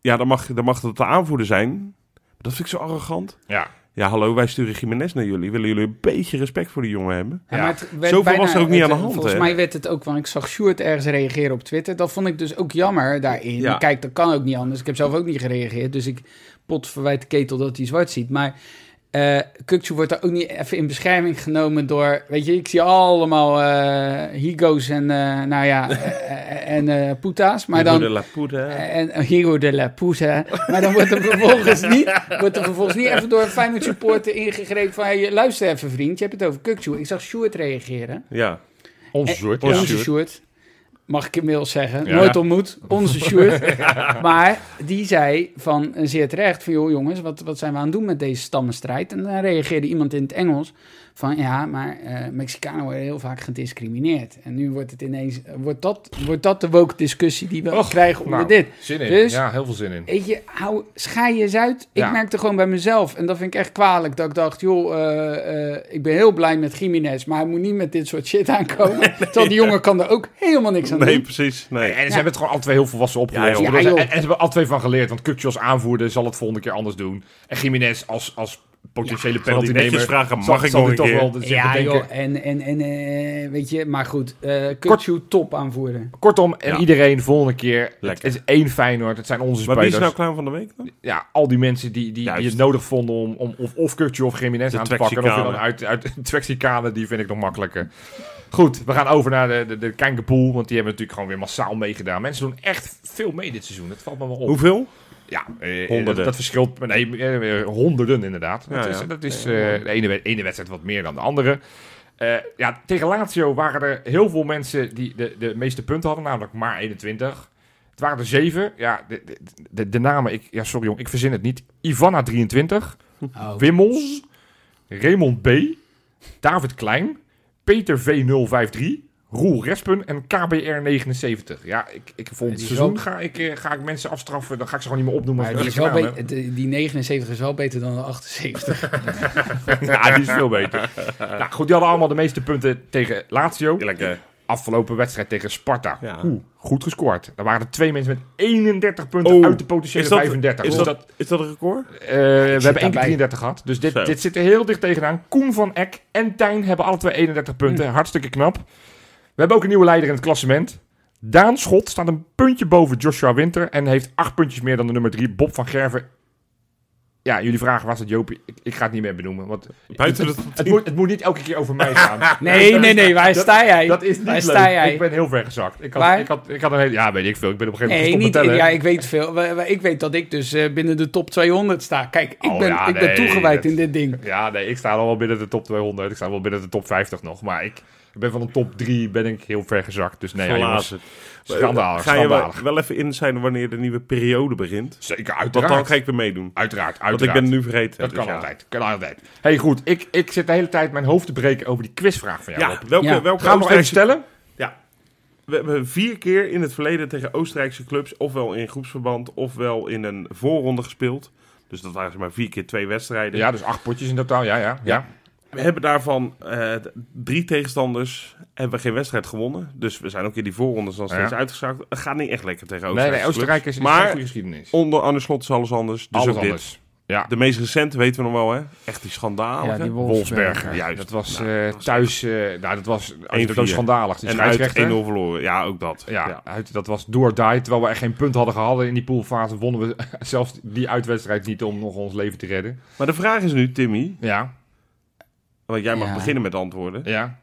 ja, dan mag, dan mag dat de aanvoerder zijn. Dat vind ik zo arrogant.
ja.
Ja, hallo, wij sturen Jiménez naar jullie. Willen jullie een beetje respect voor die jongen hebben?
Ja,
Ja.
maar het werd
Zoveel was er ook niet
het-
aan de hand,
Volgens
hè?
mij werd het ook, want ik zag Sjoerd ergens reageren op Twitter. Dat vond ik dus ook jammer daarin.
Ja.
Kijk, dat kan ook niet anders. Ik heb zelf ook niet gereageerd. Dus ik pot verwijt de ketel dat hij zwart ziet. Maar eh Kukçu wordt daar ook niet even in bescherming genomen door... Weet je, ik zie allemaal eh higo's en, eh, nou ja, eh, en eh poeta's. Maar
Hugo
dan...
de La Poudre.
Eh.
Eh, En een Hero de la Pousa. Maar dan wordt er vervolgens niet, wordt er vervolgens niet even door een Feyenoord supporter ingegrepen van... Hey, luister even vriend, je hebt het over Kukçu. Ik zag Sjoerd reageren.
Ja.
Onze
Eh,
soort.
Onze
Ja.
Sjoerd. Mag ik inmiddels zeggen.
Ja.
Nooit ontmoet. Onze Sjoerd. Maar die zei van eh, zeer terecht van... joh jongens, wat, wat zijn we aan het doen met deze stammenstrijd? En dan reageerde iemand in het Engels van... ja, maar eh, Mexicanen worden heel vaak gediscrimineerd. En nu wordt het ineens... wordt, dat, wordt dat de woke discussie die we
Och,
krijgen onder
nou,
dit?
Zin in.
Dus-
ja, heel veel zin in.
Weet je, hou, schei eens uit. Ik
Ja.
merkte gewoon bij mezelf. En dat vind ik echt kwalijk. Dat ik dacht, joh, eh, eh, ik ben heel blij met Jiménez. Maar hij moet niet met dit soort shit aankomen. Terwijl die jongen kan er ook helemaal niks
Hm?
aan
Nee,
doen.
precies.
En
Nee.
ze hebben het gewoon alle twee heel volwassen opgelost.
Ja, joh.
Ik bedoel,
Ja,
ze-
joh.
en, en ze hebben er alle twee van geleerd. Want Kukje als aanvoerder zal het volgende keer anders doen. En Jiménez als, als potentiële
Zal die
penaltynemer...
netjes vragen,
zal-
mag ik
zal
nog
die
een
toch
keer?
wel zich
Ja,
bedenken.
joh. En, en, en eh, weet je, maar goed. eh Kutsu top aanvoeren.
Kortom, en
Ja.
iedereen volgende keer.
Lekker.
Het is één Feyenoord. Het zijn onze
Maar wie is
spelers.
nou klaar van de week dan?
Ja, al die mensen die, die, die
Juist.
het nodig vonden om, om of, of Kukje of Jiménez
De
aan te pakken. En Of je dan
Twexicanen.
uit, uit Twexicane, die vind ik nog makkelijker. Goed, we gaan over naar de, de, de Kijkenpoel. Want die hebben natuurlijk gewoon weer massaal meegedaan. Mensen doen echt veel mee dit seizoen. Dat valt me wel op.
Hoeveel?
Ja, eh,
Honderden.
Dat, dat verschilt. Nee, eh, honderden inderdaad.
Ja,
dat is,
ja.
dat is eh, de ene, wed- ene wedstrijd wat meer dan de andere. Eh, ja, tegen Lazio waren er heel veel mensen die de, de meeste punten hadden, namelijk maar 21. Het waren er zeven. Ja, de, de, de, de namen, ik, ja, sorry jong, ik verzin het niet. Ivana 23,
Oh.
Wimmels, Raymond B, David Klein, Peter V053, Roel Respen en KBR79. Ja, ik, ik voor het
Die is
seizoen
wel-
ga ik, eh, ga ik mensen afstraffen, dan ga ik ze gewoon niet meer opnoemen.
Maar
als
die, is wel
welke namen.
be- de- die 79 is wel beter dan de 78.
Ja, die is veel beter. nou, goed, die hadden allemaal de meeste punten tegen Lazio.
Lekker.
Afgelopen wedstrijd tegen Sparta.
Ja.
Oeh, goed gescoord. Er waren er twee mensen met 31 punten
Oh,
uit de potentiële
Is dat,
35.
is,
Dus
dat, is dat een record?
eh, we hebben één keer
daarbij.
33 gehad. Dus
Zo.
dit, dit zit er heel dicht tegenaan. Koen van Eck en Tijn hebben alle twee 31 punten.
Hm.
Hartstikke knap. We hebben ook een nieuwe leider in het klassement. Daan Schot staat een puntje boven Joshua Winter. En heeft acht puntjes meer dan de nummer drie, Bob van Gerven. Ja, jullie vragen was het Jopie. Ik, ik ga het niet meer benoemen. Want
Buiten
het,
de top
het, moet, het moet niet elke keer over mij gaan.
Nee, nee, nee. Waar sta jij?
Dat is niet
Waar
leuk.
sta jij?
Ik ben heel ver gezakt. Ik had,
Waar?
ik had, ik had een hele... Ja, weet ik veel. Ik ben op een gegeven moment
Nee, niet,
gestopt met tellen.
ja, ik weet veel. We- we- Ik weet dat ik dus eh, binnen de top 200 sta. Kijk, ik
Oh,
ben,
ja,
ik
nee,
ben toegewijd
dat-
in dit ding.
Ja, nee, ik sta al wel binnen de top 200. Ik sta wel binnen de top 50 nog. Maar ik ben van de top 3 ben ik heel ver gezakt. Dus nee, ja, jongens,
glazen.
schandalig,
Ga je wel,
schandalig.
wel even in zijn wanneer de nieuwe periode begint?
Zeker,
Want
uiteraard.
dan ga ik weer meedoen. Want
Uiteraard,
ik
uiteraard.
ben het nu vergeten.
Dat
dus
kan
ja.
altijd, kan altijd. hey, goed, ik, ik zit de hele tijd mijn hoofd te breken over die quizvraag van jou.
Ja,
Rob.
welke,
Ja.
welke
Gaan we nog even
Oostenrijkse-
stellen?
We hebben vier keer in het verleden tegen Oostenrijkse clubs, ofwel in groepsverband, ofwel in een voorronde gespeeld. Dus dat waren zeg maar vier keer twee wedstrijden.
Ja, dus acht potjes in totaal, ja, ja. ja.
We hebben daarvan eh, d- drie tegenstanders, hebben we geen wedstrijd gewonnen. Dus we zijn ook in die voorrondes dan steeds
Ja.
uitgeschakeld. Het gaat niet echt lekker tegen
nee,
Oostenrijkse
nee, Oostenrijk is, Oh, is
Maar-
een goede geschiedenis.
clubs. Onder Arne Slot is alles anders, dus
Alles
ook dit.
anders. Ja,
De meest recente weten we nog wel, hè? Echt die schandalen.
Ja, die
Wolfsberger.
Juist.
Dat was
Nou,
eh,
dat was-
thuis, eh, nou, dat was
1-4.
dood schandalig. Die
en uit 1-0
scheidsrechter-
verloren. Ja, ook dat.
Ja, Uit, dat was door die. Terwijl we echt geen punt hadden gehad in die poolfase, wonnen we zelfs die uitwedstrijd niet om nog ons leven te redden.
Maar de vraag is nu, Timmy,
Ja,
want jij mag
Ja.
beginnen met antwoorden.
ja.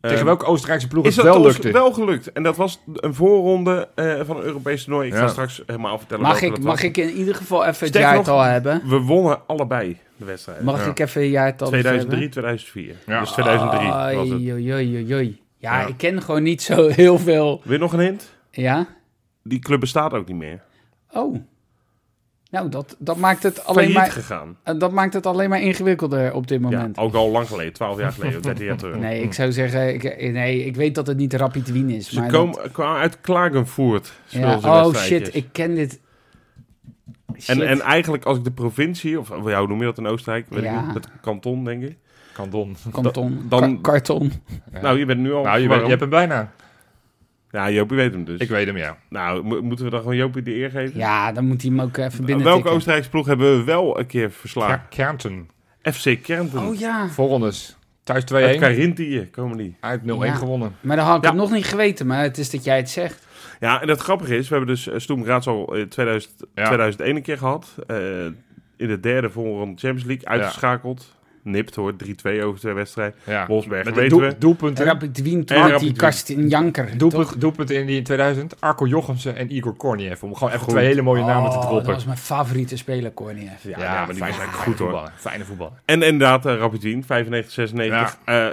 Ehm,
Tegen welke Oostenrijkse ploeg
Is
het
dat
wel
wel
lukte?
wel gelukt? En dat was een voorronde eh, van een Europees toernooi. Ik ga
Ja.
straks helemaal vertellen
Mag
welke
ik,
dat
mag
was.
ik in ieder geval even het
Sterker
jaartal hebben?
We wonnen allebei de wedstrijd.
Mag
Ja.
ik even een jaartal
2003, 2004.
Ja.
Dus 2003 was het.
het. Ja,
Ja.
ik ken gewoon niet zo heel veel.
Weer nog een hint?
Ja?
Die club bestaat ook niet meer.
Oh. Nou, dat, dat, maakt het alleen
Failliet
maar,
gegaan.
eh, dat maakt het alleen maar ingewikkelder op dit
Ja, oh.
moment.
ook al lang geleden, 12 jaar geleden, 13 jaar terug.
Nee, ik zou zeggen, ik, eh, nee, ik weet dat het niet Rapid Wien is.
Dus Ze
maar
komen- kwamen uit Klagenvoort.
dat- ja, oh shit, ik ken dit. Shit.
En, en eigenlijk als ik de provincie, of hoe noem je dat in Oostenrijk? Weet
Ja.
ik niet, het kanton, denk ik.
Kandon.
Kanton,
dan-
ka- karton.
Ja.
Nou, je bent nu al...
Nou, je, weet- je
waarom?
hebt hem bijna.
Ja, Jopie weet hem dus.
Ik weet hem, ja.
Nou, mo- moeten we dan gewoon Jopie de eer geven? Nou,
Ja, dan moet hij hem ook even binnen
Welke
tikken.
Oostenrijkse ploeg hebben we wel een keer
Ja,
verslagen?
Kärnten.
FC Kärnten.
Oh ja,
Voorrondes. Thuis 2-1.
Uit
Uit,
Carinthië komen die.
0-1
Ja.
gewonnen.
maar dan had ik
Ja.
het nog niet geweten, maar het is dat jij het zegt.
Ja, en het grappige is, we hebben dus eh, Stoem Graz al in 2000,
Ja.
2001 een keer gehad. Eh, in de derde voorronde Champions League uitgeschakeld. Nipt hoor, 3-2 over twee wedstrijden.
Ja.
Wolfsberg,
Met
weten
doel-
we.
doelpunten.
Rapid Wien, toen
En
had
Rapid
die
Wien.
kast in janker.
doelpunt-
toch?
doelpunten in die 2000. Arco Jochemsen en Igor Korniev. Om gewoon even
Goed.
twee hele mooie namen te
Oh,
droppen.
Dat was mijn favoriete speler, Corniev.
Ja,
Ja,
ja, maar die was
fijn-
eigenlijk
fijne
goed hoor.
voetballer, Fijne voetballer.
En inderdaad, eh, Rapid Wien, 95-96. eh,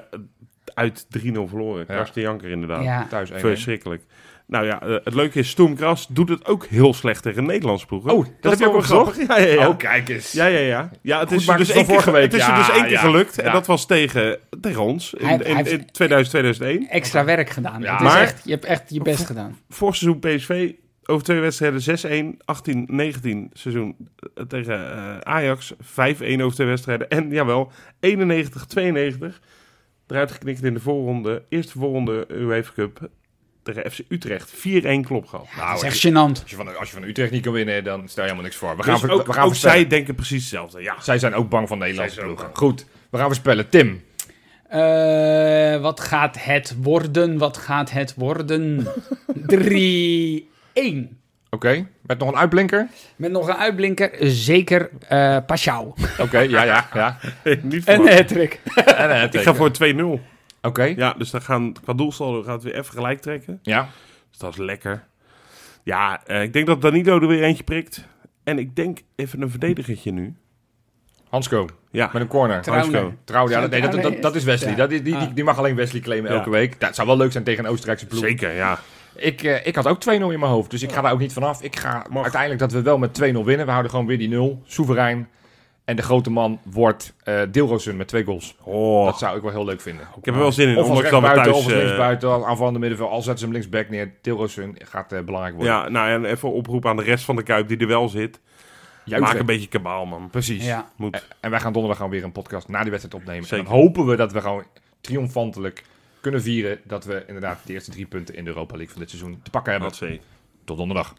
uit 3-0 verloren.
Ja.
Karsten Janker inderdaad.
Ja.
Thuis 1-1.
Verschrikkelijk. Nou ja, eh, het leuke is, Stoem Graz doet het ook heel slecht tegen Nederlands ploegen.
Oh, dat heb je
is
ook
wel
opgezocht?
grappig. Ja, ja, ja.
Oh, kijk eens.
Ja, ja, ja. ja het,
Goed
is er
maken
dus
van
één keer,
vorige week.
het is er
Ja,
dus één keer
ja,
gelukt. En
ja.
dat was tegen, tegen ons in,
Hij-
in,
hij heeft-
in 2000, 2001.
Extra werk gedaan.
Ja.
Het is
Maar-
echt, je hebt echt je best gedaan.
Vorig seizoen PSV, over twee wedstrijden 6-1, 18, 19 seizoen eh, tegen eh, Ajax, 5-1 over twee wedstrijden. En jawel, 91, 92, eruit geknikt in de voorronde, eerste voorronde UEFA Cup tegen FC Utrecht, 4-1 klop gehad.
Nou,
Dat is echt gênant.
Als je, van, als je van Utrecht niet kan winnen, dan stel je helemaal niks voor. We gaan,
Dus
ver-
ook,
we gaan
ook
voorspellen.
zij denken precies hetzelfde, ja.
zij zijn ook bang van Nederlandse
Zij zijn ook
ploegen. Goed, we gaan voorspellen. Tim,
Eh, wat gaat het worden? Wat gaat het worden? 3-1.
oké? Met nog een uitblinker?
Met nog een uitblinker, zeker eh Pashao.
Oké, ja, ja, ja.
Niet
En
verwacht.
een hat
En, eh,
Ik
teken.
ga voor 2-0.
Oké, ja.
Ja, dus dan gaan, qua doelstal gaat het weer even gelijk trekken. Dus dat is lekker. Ja, eh, ik denk dat Danilo er weer eentje prikt. En ik denk even een verdedigertje nu.
Hansco,
Ja,
met een corner.
Trouwner.
Hansco.
Trouw, ja,
Zou
nee, dat, dat, dat is Wesley.
Ja.
Dat, die, die, die- die mag alleen Wesley claimen
Ja.
elke week. Dat zou wel leuk zijn tegen een Oostenrijkse ploeg.
Zeker, ja.
Ik, eh, ik had ook 2-0 in mijn hoofd, dus ik ga daar ook niet vanaf. Ik ga
Mag.
uiteindelijk dat we wel met 2-0 winnen. We houden gewoon weer die 0, soeverein. En de grote man wordt eh Dilrosun met twee goals.
Oh,
Dat zou ik wel heel leuk vinden.
ik heb er wel zin in.
Of als
ondanks dat we
rechtsbuiten, of als
thuis, eh,
linksbuiten, als aanvallende middenveld. Al zetten ze hem linksback neer, Dilrosun gaat eh, belangrijk worden.
Ja, nou en even oproep aan de rest van de Kuip die er wel zit.
Juichen.
Maak een beetje kabaal, man.
Precies.
Ja.
Moet.
En wij gaan donderdag gewoon weer een podcast na die wedstrijd opnemen.
Zeker.
En dan hopen we dat we gewoon triomfantelijk kunnen vieren dat we inderdaad de eerste drie punten in de Europa League van dit seizoen te pakken hebben.
Wat zee.
Tot donderdag.